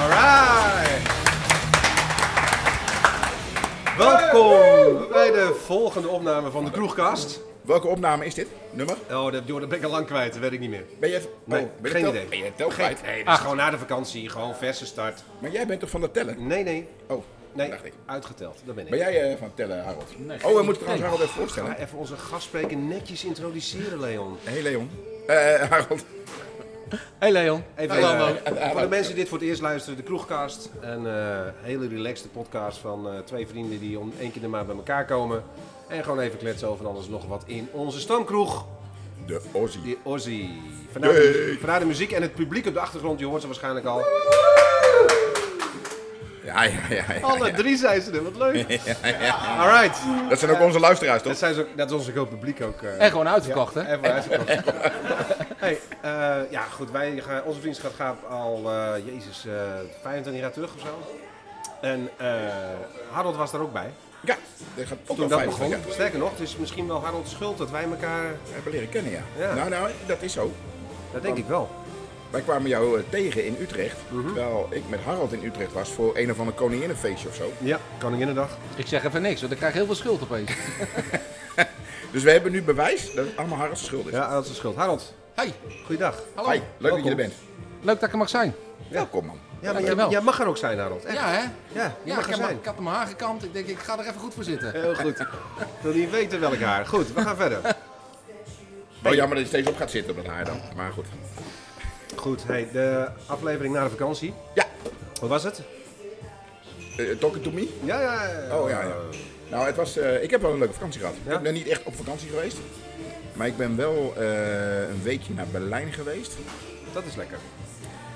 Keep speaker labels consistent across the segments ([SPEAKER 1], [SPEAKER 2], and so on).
[SPEAKER 1] Alright! Welkom bij de volgende opname van de Kroegkast.
[SPEAKER 2] Welke opname is dit? Nummer?
[SPEAKER 1] Oh, dat, joh, dat ben ik al lang kwijt, dat weet ik niet meer.
[SPEAKER 2] Ben je, oh,
[SPEAKER 1] Nee,
[SPEAKER 2] ben je
[SPEAKER 1] geen
[SPEAKER 2] tel-
[SPEAKER 1] idee.
[SPEAKER 2] Ben je tel
[SPEAKER 1] Geen,
[SPEAKER 2] kwijt? dus-
[SPEAKER 1] nee, dat is gewoon na de vakantie, gewoon verse start.
[SPEAKER 2] Maar jij bent toch van het tellen?
[SPEAKER 1] Nee, nee,
[SPEAKER 2] Oh,
[SPEAKER 1] nee,
[SPEAKER 2] dacht ik.
[SPEAKER 1] uitgeteld, dat ben ik.
[SPEAKER 2] Ben jij eh, van het tellen, Harold? oh, we moeten trouwens Harold even voorstellen.
[SPEAKER 1] Maar even onze gastspreker netjes introduceren, Leon.
[SPEAKER 2] Hé hey Leon. Eh Harold.
[SPEAKER 3] Hey Leon.
[SPEAKER 1] Even
[SPEAKER 2] Hallo,
[SPEAKER 1] eh,
[SPEAKER 2] hallo.
[SPEAKER 1] voor
[SPEAKER 2] Hallo.
[SPEAKER 1] de mensen die dit voor het eerst luisteren, de Kroegkast. Een eh, hele relaxte podcast van eh, twee vrienden die om één keer de maand bij elkaar komen. En gewoon even kletsen over alles en nog wat in onze stamkroeg,
[SPEAKER 2] De Ozzy.
[SPEAKER 1] de Ozzy. Vandaar de,
[SPEAKER 2] Hey.
[SPEAKER 1] vandaar de muziek en het publiek op de achtergrond, je hoort ze waarschijnlijk al.
[SPEAKER 2] Ja, ja, ja. ja,
[SPEAKER 1] Alle
[SPEAKER 2] ja.
[SPEAKER 1] drie zijn ze er, wat leuk. Alright.
[SPEAKER 2] Dat zijn ook onze luisteraars,
[SPEAKER 1] Dat,
[SPEAKER 2] toch?
[SPEAKER 1] zijn ze, dat is ons heel publiek ook. eh,
[SPEAKER 3] En gewoon uitverkocht, hè?
[SPEAKER 1] Even uitgekomen. hey, eh, ja, goed. Wij gaan, onze vriendschap gaat al, eh, jezus, eh, 25 jaar terug of zo. En eh, Harold was daar ook bij
[SPEAKER 2] Ja, dit gaat ook
[SPEAKER 1] toen
[SPEAKER 2] al
[SPEAKER 1] dat
[SPEAKER 2] vijf
[SPEAKER 1] begon.
[SPEAKER 2] jaar.
[SPEAKER 1] Sterker nog, het is misschien wel Harolds schuld dat wij elkaar...
[SPEAKER 2] We hebben leren kennen, ja.
[SPEAKER 1] Ja.
[SPEAKER 2] Nou, nou, dat is zo.
[SPEAKER 1] Dat denk ik wel.
[SPEAKER 2] Wij kwamen jou eh, tegen in Utrecht,
[SPEAKER 1] Mhm.
[SPEAKER 2] terwijl ik met Harold in Utrecht was voor een of ander koninginnenfeestje of zo.
[SPEAKER 1] Ja, Koninginnedag.
[SPEAKER 3] Ik zeg even niks, want ik krijg heel veel schuld opeens.
[SPEAKER 2] Dus we hebben nu bewijs dat het allemaal Harolds schuld is.
[SPEAKER 1] Ja, dat is de schuld. Harold,
[SPEAKER 3] Hey,
[SPEAKER 1] goeiedag.
[SPEAKER 3] hallo.
[SPEAKER 2] Hi, leuk dat je
[SPEAKER 1] Welkom.
[SPEAKER 2] er bent.
[SPEAKER 3] Leuk dat ik er mag zijn.
[SPEAKER 2] Welkom, man.
[SPEAKER 1] Ja, maar jij,
[SPEAKER 3] Dankjewel.
[SPEAKER 1] jij mag er ook zijn, Harold. Echt.
[SPEAKER 3] Ja, hè?
[SPEAKER 1] Ja, je
[SPEAKER 3] Ja,
[SPEAKER 1] mag
[SPEAKER 3] ik
[SPEAKER 1] er
[SPEAKER 3] heb, mijn-
[SPEAKER 1] zijn.
[SPEAKER 3] ik had mijn haar gekamd. Ik denk, ik ga er even goed voor zitten.
[SPEAKER 1] Heel goed. Ik wil niet weten welk haar. Goed, we gaan verder.
[SPEAKER 2] Oh, jammer dat je steeds op gaat zitten met haar dan. Maar goed.
[SPEAKER 1] Goed, hey, de aflevering na de vakantie.
[SPEAKER 2] Ja,
[SPEAKER 1] Wat was het?
[SPEAKER 2] eh, Talking to me.
[SPEAKER 1] Ja, ja.
[SPEAKER 2] Oh ja, ja. Nou, het was, eh, ik heb wel een leuke vakantie gehad.
[SPEAKER 1] Ja?
[SPEAKER 2] Ik ben niet echt op vakantie geweest. Maar ik ben wel eh, een weekje naar Berlijn geweest.
[SPEAKER 1] Dat is lekker.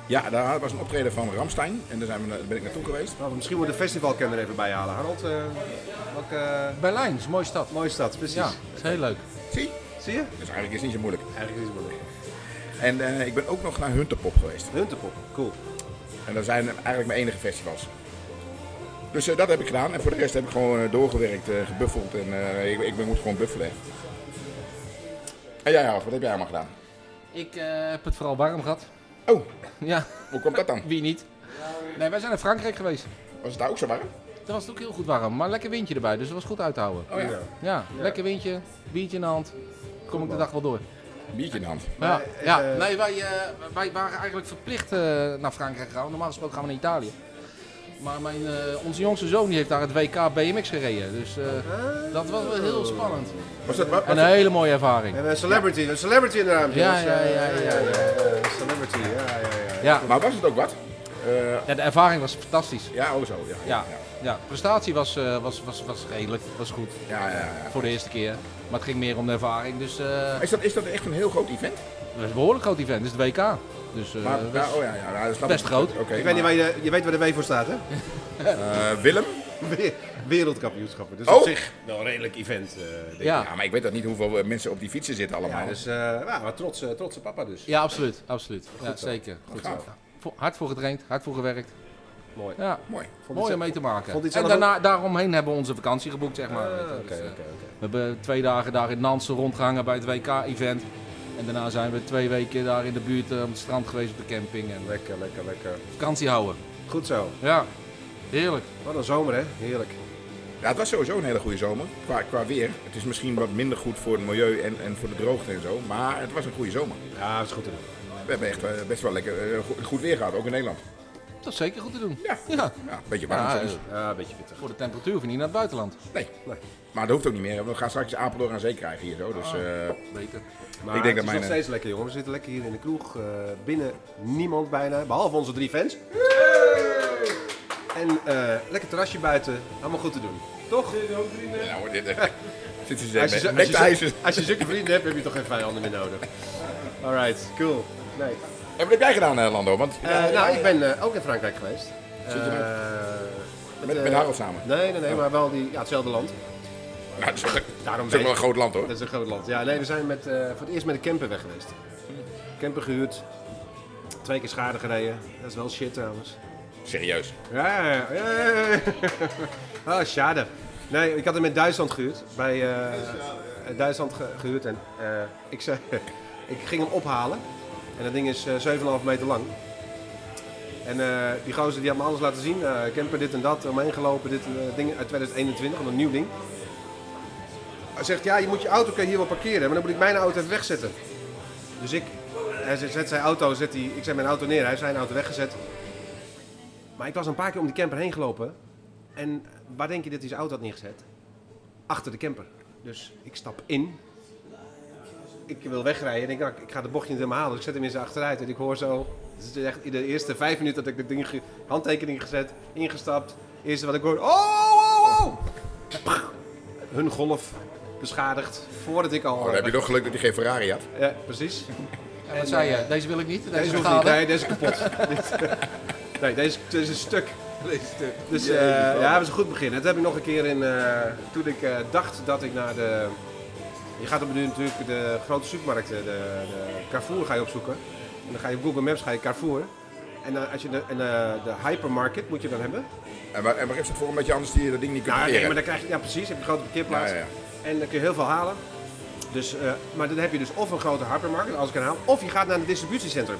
[SPEAKER 2] Ja, daar was een optreden van Ramstein. En daar, zijn we, na- daar ben ik naartoe geweest.
[SPEAKER 1] Nou, misschien moet de festivalkenner even bijhalen. Harold, eh welke eh,
[SPEAKER 3] Berlijn is een mooie stad.
[SPEAKER 1] mooie stad, precies.
[SPEAKER 3] Ja, is heel leuk.
[SPEAKER 2] Zie?
[SPEAKER 1] Zie je?
[SPEAKER 2] Dus eigenlijk is het niet zo moeilijk.
[SPEAKER 1] Eigenlijk is het wel leuk.
[SPEAKER 2] En eh, ik ben ook nog naar Hunterpop geweest.
[SPEAKER 1] Hunterpop, cool.
[SPEAKER 2] En dat zijn eigenlijk mijn enige festivals. Dus eh, dat heb ik gedaan. En voor de rest heb ik gewoon eh, doorgewerkt, eh, gebuffeld. En eh, ik, ik moet gewoon buffelen. hè. En jij, Harold, wat heb jij allemaal gedaan?
[SPEAKER 3] Ik eh, heb het vooral warm gehad.
[SPEAKER 2] Oh,
[SPEAKER 3] Ja,
[SPEAKER 2] hoe komt dat dan?
[SPEAKER 3] wie niet? Nee, wij zijn in Frankrijk geweest.
[SPEAKER 2] Was het daar ook zo warm?
[SPEAKER 3] Daar was het ook heel goed warm, maar lekker windje erbij, dus dat was goed uit te houden.
[SPEAKER 2] Oh ja.
[SPEAKER 3] Ja, lekker windje, biertje in de hand. Kom ik de dag wel door.
[SPEAKER 2] Een biertje in de hand.
[SPEAKER 3] Ja,
[SPEAKER 1] Maar,
[SPEAKER 3] ja.
[SPEAKER 1] eh,
[SPEAKER 3] nee, wij, eh, wij waren eigenlijk verplicht eh, naar Frankrijk gaan. Normaal gesproken gaan we naar Italië. Maar mijn, eh, onze jongste zoon die heeft daar het WK BMX gereden. Dus eh, dat was wel heel spannend.
[SPEAKER 2] Was dat wat?
[SPEAKER 3] Een hele mooie ervaring.
[SPEAKER 1] En een celebrity, een celebrity in de ruimte.
[SPEAKER 3] Ja,
[SPEAKER 1] dus,
[SPEAKER 3] ja,
[SPEAKER 1] eh,
[SPEAKER 3] ja, ja, ja.
[SPEAKER 1] eh, Celebrity, ja, ja, ja.
[SPEAKER 3] Ja,
[SPEAKER 2] Maar was het ook wat? Eh,
[SPEAKER 3] ja, de ervaring was fantastisch.
[SPEAKER 2] ja, oh zo. Ja,
[SPEAKER 3] Ja,
[SPEAKER 2] ja, ja.
[SPEAKER 3] ja. de prestatie was, eh, was, was, was redelijk, was goed
[SPEAKER 2] ja, ja, ja.
[SPEAKER 3] voor de eerste keer. Maar het ging meer om de ervaring, dus eh,
[SPEAKER 2] Is, dat, is dat echt een heel groot event?
[SPEAKER 3] het was een behoorlijk groot event. Het is het WK. Dus eh,
[SPEAKER 2] Maar,
[SPEAKER 3] dat
[SPEAKER 2] ja,
[SPEAKER 3] is-
[SPEAKER 2] oh ja, ja, ja, dat snap
[SPEAKER 3] best
[SPEAKER 2] ik.
[SPEAKER 3] groot.
[SPEAKER 2] Oké,
[SPEAKER 1] Je weet, niet waar je, je weet waar de W voor staat, hè?
[SPEAKER 2] maar, eh, Willem?
[SPEAKER 1] We- Wereldkampioenschappen. Dus
[SPEAKER 2] Oh.
[SPEAKER 1] op zich wel een redelijk event, eh, denk ik.
[SPEAKER 3] ja.
[SPEAKER 2] Ja, maar ik weet dat niet hoeveel eh, mensen op die fietsen zitten allemaal.
[SPEAKER 1] Ja, dus eh nou, maar trots, eh, trotse papa dus.
[SPEAKER 3] ja, absoluut. absoluut. Ja, zeker. Goed
[SPEAKER 2] Gaaf.
[SPEAKER 3] Vo- Hard voor getraind, hard voor gewerkt.
[SPEAKER 1] Mooi.
[SPEAKER 3] Ja,
[SPEAKER 2] Mooi.
[SPEAKER 1] Vond
[SPEAKER 3] mooi
[SPEAKER 1] je
[SPEAKER 3] om mee te maken.
[SPEAKER 1] vond je het
[SPEAKER 3] en
[SPEAKER 1] zelf ook-
[SPEAKER 3] daarna, daaromheen hebben we onze vakantie geboekt, zeg maar. weet je.
[SPEAKER 1] Ah,
[SPEAKER 3] Dus,
[SPEAKER 1] Oké,
[SPEAKER 3] eh,
[SPEAKER 1] oké, oké.
[SPEAKER 3] we hebben twee dagen daar in Nansen rondgehangen bij het WK-event. En daarna zijn we twee weken daar in de buurt eh, op het strand geweest op de camping. En
[SPEAKER 1] Lekker, lekker, lekker.
[SPEAKER 3] vakantie houden.
[SPEAKER 1] Goed zo.
[SPEAKER 3] Ja, heerlijk.
[SPEAKER 1] Wat een zomer, hè? Heerlijk.
[SPEAKER 2] Ja, het was sowieso een hele goede zomer. Qua, qua weer. Het is misschien wat minder goed voor het milieu en, en voor de droogte en zo. Maar het was een goede zomer.
[SPEAKER 1] Ja, dat is goed te doen.
[SPEAKER 2] We hebben echt eh, best wel lekker eh, goed, goed weer gehad, ook in Nederland.
[SPEAKER 3] Dat is zeker goed te doen.
[SPEAKER 2] Ja.
[SPEAKER 3] ja.
[SPEAKER 2] Ja, een beetje warm
[SPEAKER 3] Ja,
[SPEAKER 2] soms.
[SPEAKER 3] eh,
[SPEAKER 1] Ja, een beetje pittig.
[SPEAKER 3] Voor de temperatuur hoef je niet naar het buitenland.
[SPEAKER 2] Nee.
[SPEAKER 1] Nee.
[SPEAKER 2] Maar dat hoeft ook niet meer. We gaan straks Apeldoorn aan zee krijgen hier zo.
[SPEAKER 1] Oh.
[SPEAKER 2] Dus, eh,
[SPEAKER 3] Beter.
[SPEAKER 1] Maar
[SPEAKER 2] Ik
[SPEAKER 1] het
[SPEAKER 2] denk dat
[SPEAKER 1] is
[SPEAKER 2] mijn- eh,
[SPEAKER 1] nog steeds lekker, jongen. We zitten lekker hier in de kroeg. eh, binnen niemand bijna, behalve onze drie fans. En eh, lekker terrasje buiten. Allemaal goed te doen. Toch?
[SPEAKER 2] nou, dit, eh, zitten ze
[SPEAKER 1] Als je, zo-
[SPEAKER 2] met- met
[SPEAKER 1] als,
[SPEAKER 2] de
[SPEAKER 1] je,
[SPEAKER 2] ijzers.
[SPEAKER 1] zo- als je zulke vrienden hebt, heb je toch geen vijanden meer nodig. Alright, cool. Nee.
[SPEAKER 2] En wat heb jij gedaan, eh, Lando? Want,
[SPEAKER 1] Eh, nou, ik ben eh, ook in Frankrijk geweest.
[SPEAKER 2] Zit je met-
[SPEAKER 1] Eh,
[SPEAKER 2] Met,
[SPEAKER 1] eh,
[SPEAKER 2] met Harold samen. Oh.
[SPEAKER 1] Nee, nee, nee, maar wel die, ja, hetzelfde land.
[SPEAKER 2] Nou, dat is wel-
[SPEAKER 1] Daarom
[SPEAKER 2] dat is ook wel
[SPEAKER 1] weet-
[SPEAKER 2] een groot land hoor.
[SPEAKER 1] Dat is een groot land. Ja, nee, we zijn met, eh, voor het eerst met een camper weg geweest. Camper gehuurd. Twee keer schade gereden. Dat is wel shit trouwens. Oh,
[SPEAKER 2] Serieus.
[SPEAKER 1] Ja, ja, ja, ja, ja. Ah, schade. Nee, ik had hem in Duitsland gehuurd. Bij eh, Duitsland ge- gehuurd. En eh, ik, zei, ik ging hem ophalen. En dat ding is eh, 7,5 meter lang. En eh, die gozer die had me alles laten zien. eh, camper dit en dat, omheen gelopen, dit eh, ding uit 2021, een nieuw ding. Hij zegt, ja, je moet je auto kan je hier wel parkeren, maar dan moet ik mijn auto even wegzetten. Dus ik, hij zet, zet zijn auto, zet die, ik zet mijn auto neer, hij heeft zijn auto weggezet. Maar ik was een paar keer om die camper heen gelopen. En waar denk je dat hij zijn auto had neergezet? Achter de camper. Dus ik stap in. Ik wil wegrijden en ik denk, nou, ik ga de bochtje niet helemaal halen. Dus ik zet hem in zijn achteruit en ik hoor zo... Het is echt in de eerste vijf minuten dat ik de ding ge- handtekening gezet, ingestapt. Eerste wat ik hoor, oh, oh, oh! Pff, Hun golf beschadigd, voordat ik al...
[SPEAKER 2] Oh, dan heb je toch geluk dat hij geen Ferrari had.
[SPEAKER 1] Ja, precies.
[SPEAKER 3] En wat zei je? eh, Deze wil ik niet. Deze,
[SPEAKER 1] Deze
[SPEAKER 3] is
[SPEAKER 1] hoeft niet.
[SPEAKER 3] gehaald, hè?
[SPEAKER 1] Nee, deze is kapot. Dit- nee, deze, deze is stuk. Dus eh
[SPEAKER 2] Jezus, man.
[SPEAKER 1] ja, dat was een goed begin. Dat heb ik nog een keer in. eh, toen ik eh, dacht dat ik naar de. Je gaat op nu natuurlijk de grote supermarkten, de, de Carrefour ga je opzoeken. En dan ga je op Google Maps ga je Carrefour. En dan als je de, en, eh, de hypermarket moet je dan hebben.
[SPEAKER 2] En waar, en waar is het voor omdat je anders die, dat ding niet kunt
[SPEAKER 1] Ja, nee, maar
[SPEAKER 2] parkeren?
[SPEAKER 1] dan krijg je, ja precies, heb je een grote parkeerplaats.
[SPEAKER 2] Ja, ja, ja.
[SPEAKER 1] En dan kun je heel veel halen. Dus, eh, maar dan heb je dus of een grote hypermarket, als ik kan halen, of je gaat naar een distributiecentrum.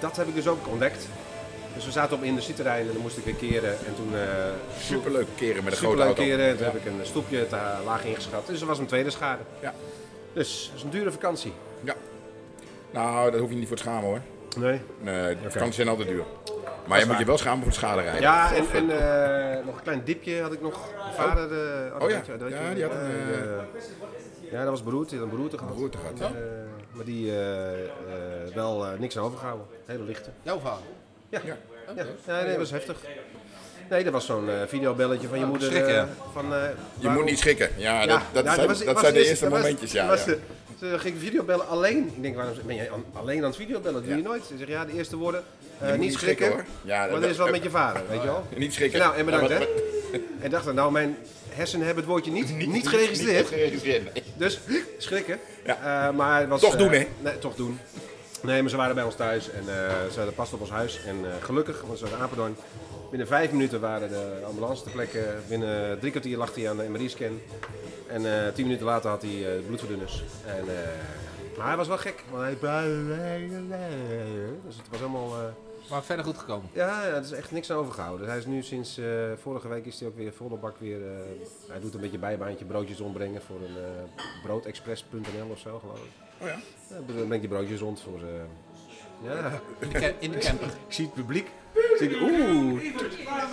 [SPEAKER 1] Dat heb ik dus ook ontdekt. Dus we zaten op een industrieterrein en dan moest ik weer keren. En toen eh
[SPEAKER 2] Superleuk keren met een grote
[SPEAKER 1] superleuk
[SPEAKER 2] auto.
[SPEAKER 1] keren. En toen
[SPEAKER 2] Ja.
[SPEAKER 1] heb ik een stoepje te laag ingeschat. Dus er was een tweede schade.
[SPEAKER 2] Ja.
[SPEAKER 1] Dus het is een dure vakantie.
[SPEAKER 2] Ja. Nou, daar hoef je niet voor te schamen hoor.
[SPEAKER 1] Nee.
[SPEAKER 2] Nee, de vakanties zijn altijd duur. Maar je moet
[SPEAKER 1] waar.
[SPEAKER 2] je wel schamen voor het schaderijden.
[SPEAKER 1] Ja, en, en eh, nog een klein dipje had ik nog. Mijn vader. eh, had
[SPEAKER 2] Oh ja.
[SPEAKER 1] dat weet je- dat weet
[SPEAKER 2] Ja,
[SPEAKER 1] je-
[SPEAKER 2] die had een,
[SPEAKER 1] eh, ja, dat was beroerd. Die had een beroerte gehad.
[SPEAKER 2] Beroerte gehad, ja.
[SPEAKER 1] Eh, maar die eh, eh, wel eh, niks aan overgehouden. Hele lichte.
[SPEAKER 3] Jouw vader.
[SPEAKER 1] Ja.
[SPEAKER 2] Ja.
[SPEAKER 1] ja. Ja, nee, dat was heftig. Nee, dat was zo'n eh, videobelletje van je moeder.
[SPEAKER 3] schrikken,
[SPEAKER 1] eh,
[SPEAKER 3] ja.
[SPEAKER 1] van,
[SPEAKER 2] Ah, Je moet niet schrikken. Ja, dat, dat, zijn, dat zijn de eerste momentjes. Ja, ja.
[SPEAKER 1] Ze ging videobellen alleen. Ik denk, waarom ben jij aan- alleen aan het videobellen? Dat doe je nooit. Ze zegt, ja, de eerste woorden. eh,
[SPEAKER 2] moet
[SPEAKER 1] niet
[SPEAKER 2] niet
[SPEAKER 1] schrikken,
[SPEAKER 2] schrikken, hoor. Ja,
[SPEAKER 1] maar
[SPEAKER 2] dat-
[SPEAKER 1] er is wat
[SPEAKER 2] eh,
[SPEAKER 1] met je vader, weet je wel.
[SPEAKER 2] Niet schrikken.
[SPEAKER 1] Nou, en bedankt,
[SPEAKER 2] Ja, wat-
[SPEAKER 1] hè. En dacht dan, nou, mijn hersenen hebben het woordje niet, niet, geregistreerd.
[SPEAKER 2] Niet geregistreerd. nee.
[SPEAKER 1] Dus schrikken.
[SPEAKER 2] Ja.
[SPEAKER 1] Eh, maar het was,
[SPEAKER 2] Toch
[SPEAKER 1] eh,
[SPEAKER 2] doen, hè?
[SPEAKER 1] Nee, toch doen. Nee, maar ze waren bij ons thuis en eh, ze hadden pas op ons huis. En eh, gelukkig, want ze waren in Apeldoorn. Binnen vijf minuten waren de ambulance ter plekke. Binnen drie kwartier lag hij aan de MRI-scan. En eh, tien minuten later had hij eh, bloedverdunners. En, eh, maar hij was wel gek. Want hij... Dus het was allemaal... eh,
[SPEAKER 3] Maar verder goed gekomen.
[SPEAKER 1] ja, ja, er is echt niks aan overgehouden. Dus hij is nu sinds eh, vorige week is hij ook weer volle bak weer. eh, hij doet een beetje bijbaantje, broodjes rondbrengen voor een eh, broodexpress.nl of zo geloof ik.
[SPEAKER 2] Oh ja.
[SPEAKER 1] Ja, dan brengt hij broodjes rond voor. eh, ja,
[SPEAKER 3] In de, ca- in de camper.
[SPEAKER 1] ik zie het publiek. Ik Zie oeh,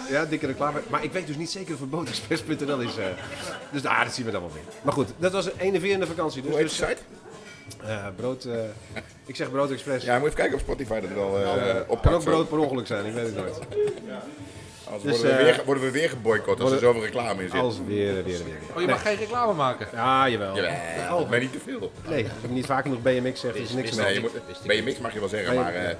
[SPEAKER 1] ja, dikke reclame. Maar ik weet dus niet zeker of het broodexpress.nl is. eh. dus daar dat zien we dan wel weer. Maar goed, dat was een enerverende vakantie. Dus,
[SPEAKER 2] Hoe heet de
[SPEAKER 1] dus
[SPEAKER 2] site?
[SPEAKER 1] eh, brood, eh, ik zeg broodexpress.
[SPEAKER 2] Ja, moet even kijken of Spotify dat wel eh
[SPEAKER 1] Het
[SPEAKER 2] oppakt.
[SPEAKER 1] kan ook
[SPEAKER 2] zo.
[SPEAKER 1] Nou, brood per ongeluk zijn, ik weet het nooit.
[SPEAKER 2] Anders
[SPEAKER 1] Dus,
[SPEAKER 2] worden, we
[SPEAKER 1] eh,
[SPEAKER 2] weer, ge- worden we weer geboycott als er zoveel reclame in zit.
[SPEAKER 1] Alles weer, weer, weer. weer.
[SPEAKER 3] Oh, je mag geen reclame maken.
[SPEAKER 1] Ja, jawel.
[SPEAKER 2] Jawel, maar niet te veel.
[SPEAKER 1] Nee, als je niet vaak genoeg BMX zegt, is er niks
[SPEAKER 2] Nee, je
[SPEAKER 1] mee.
[SPEAKER 2] moet, bij je mix mag je wel zeggen, maar eh,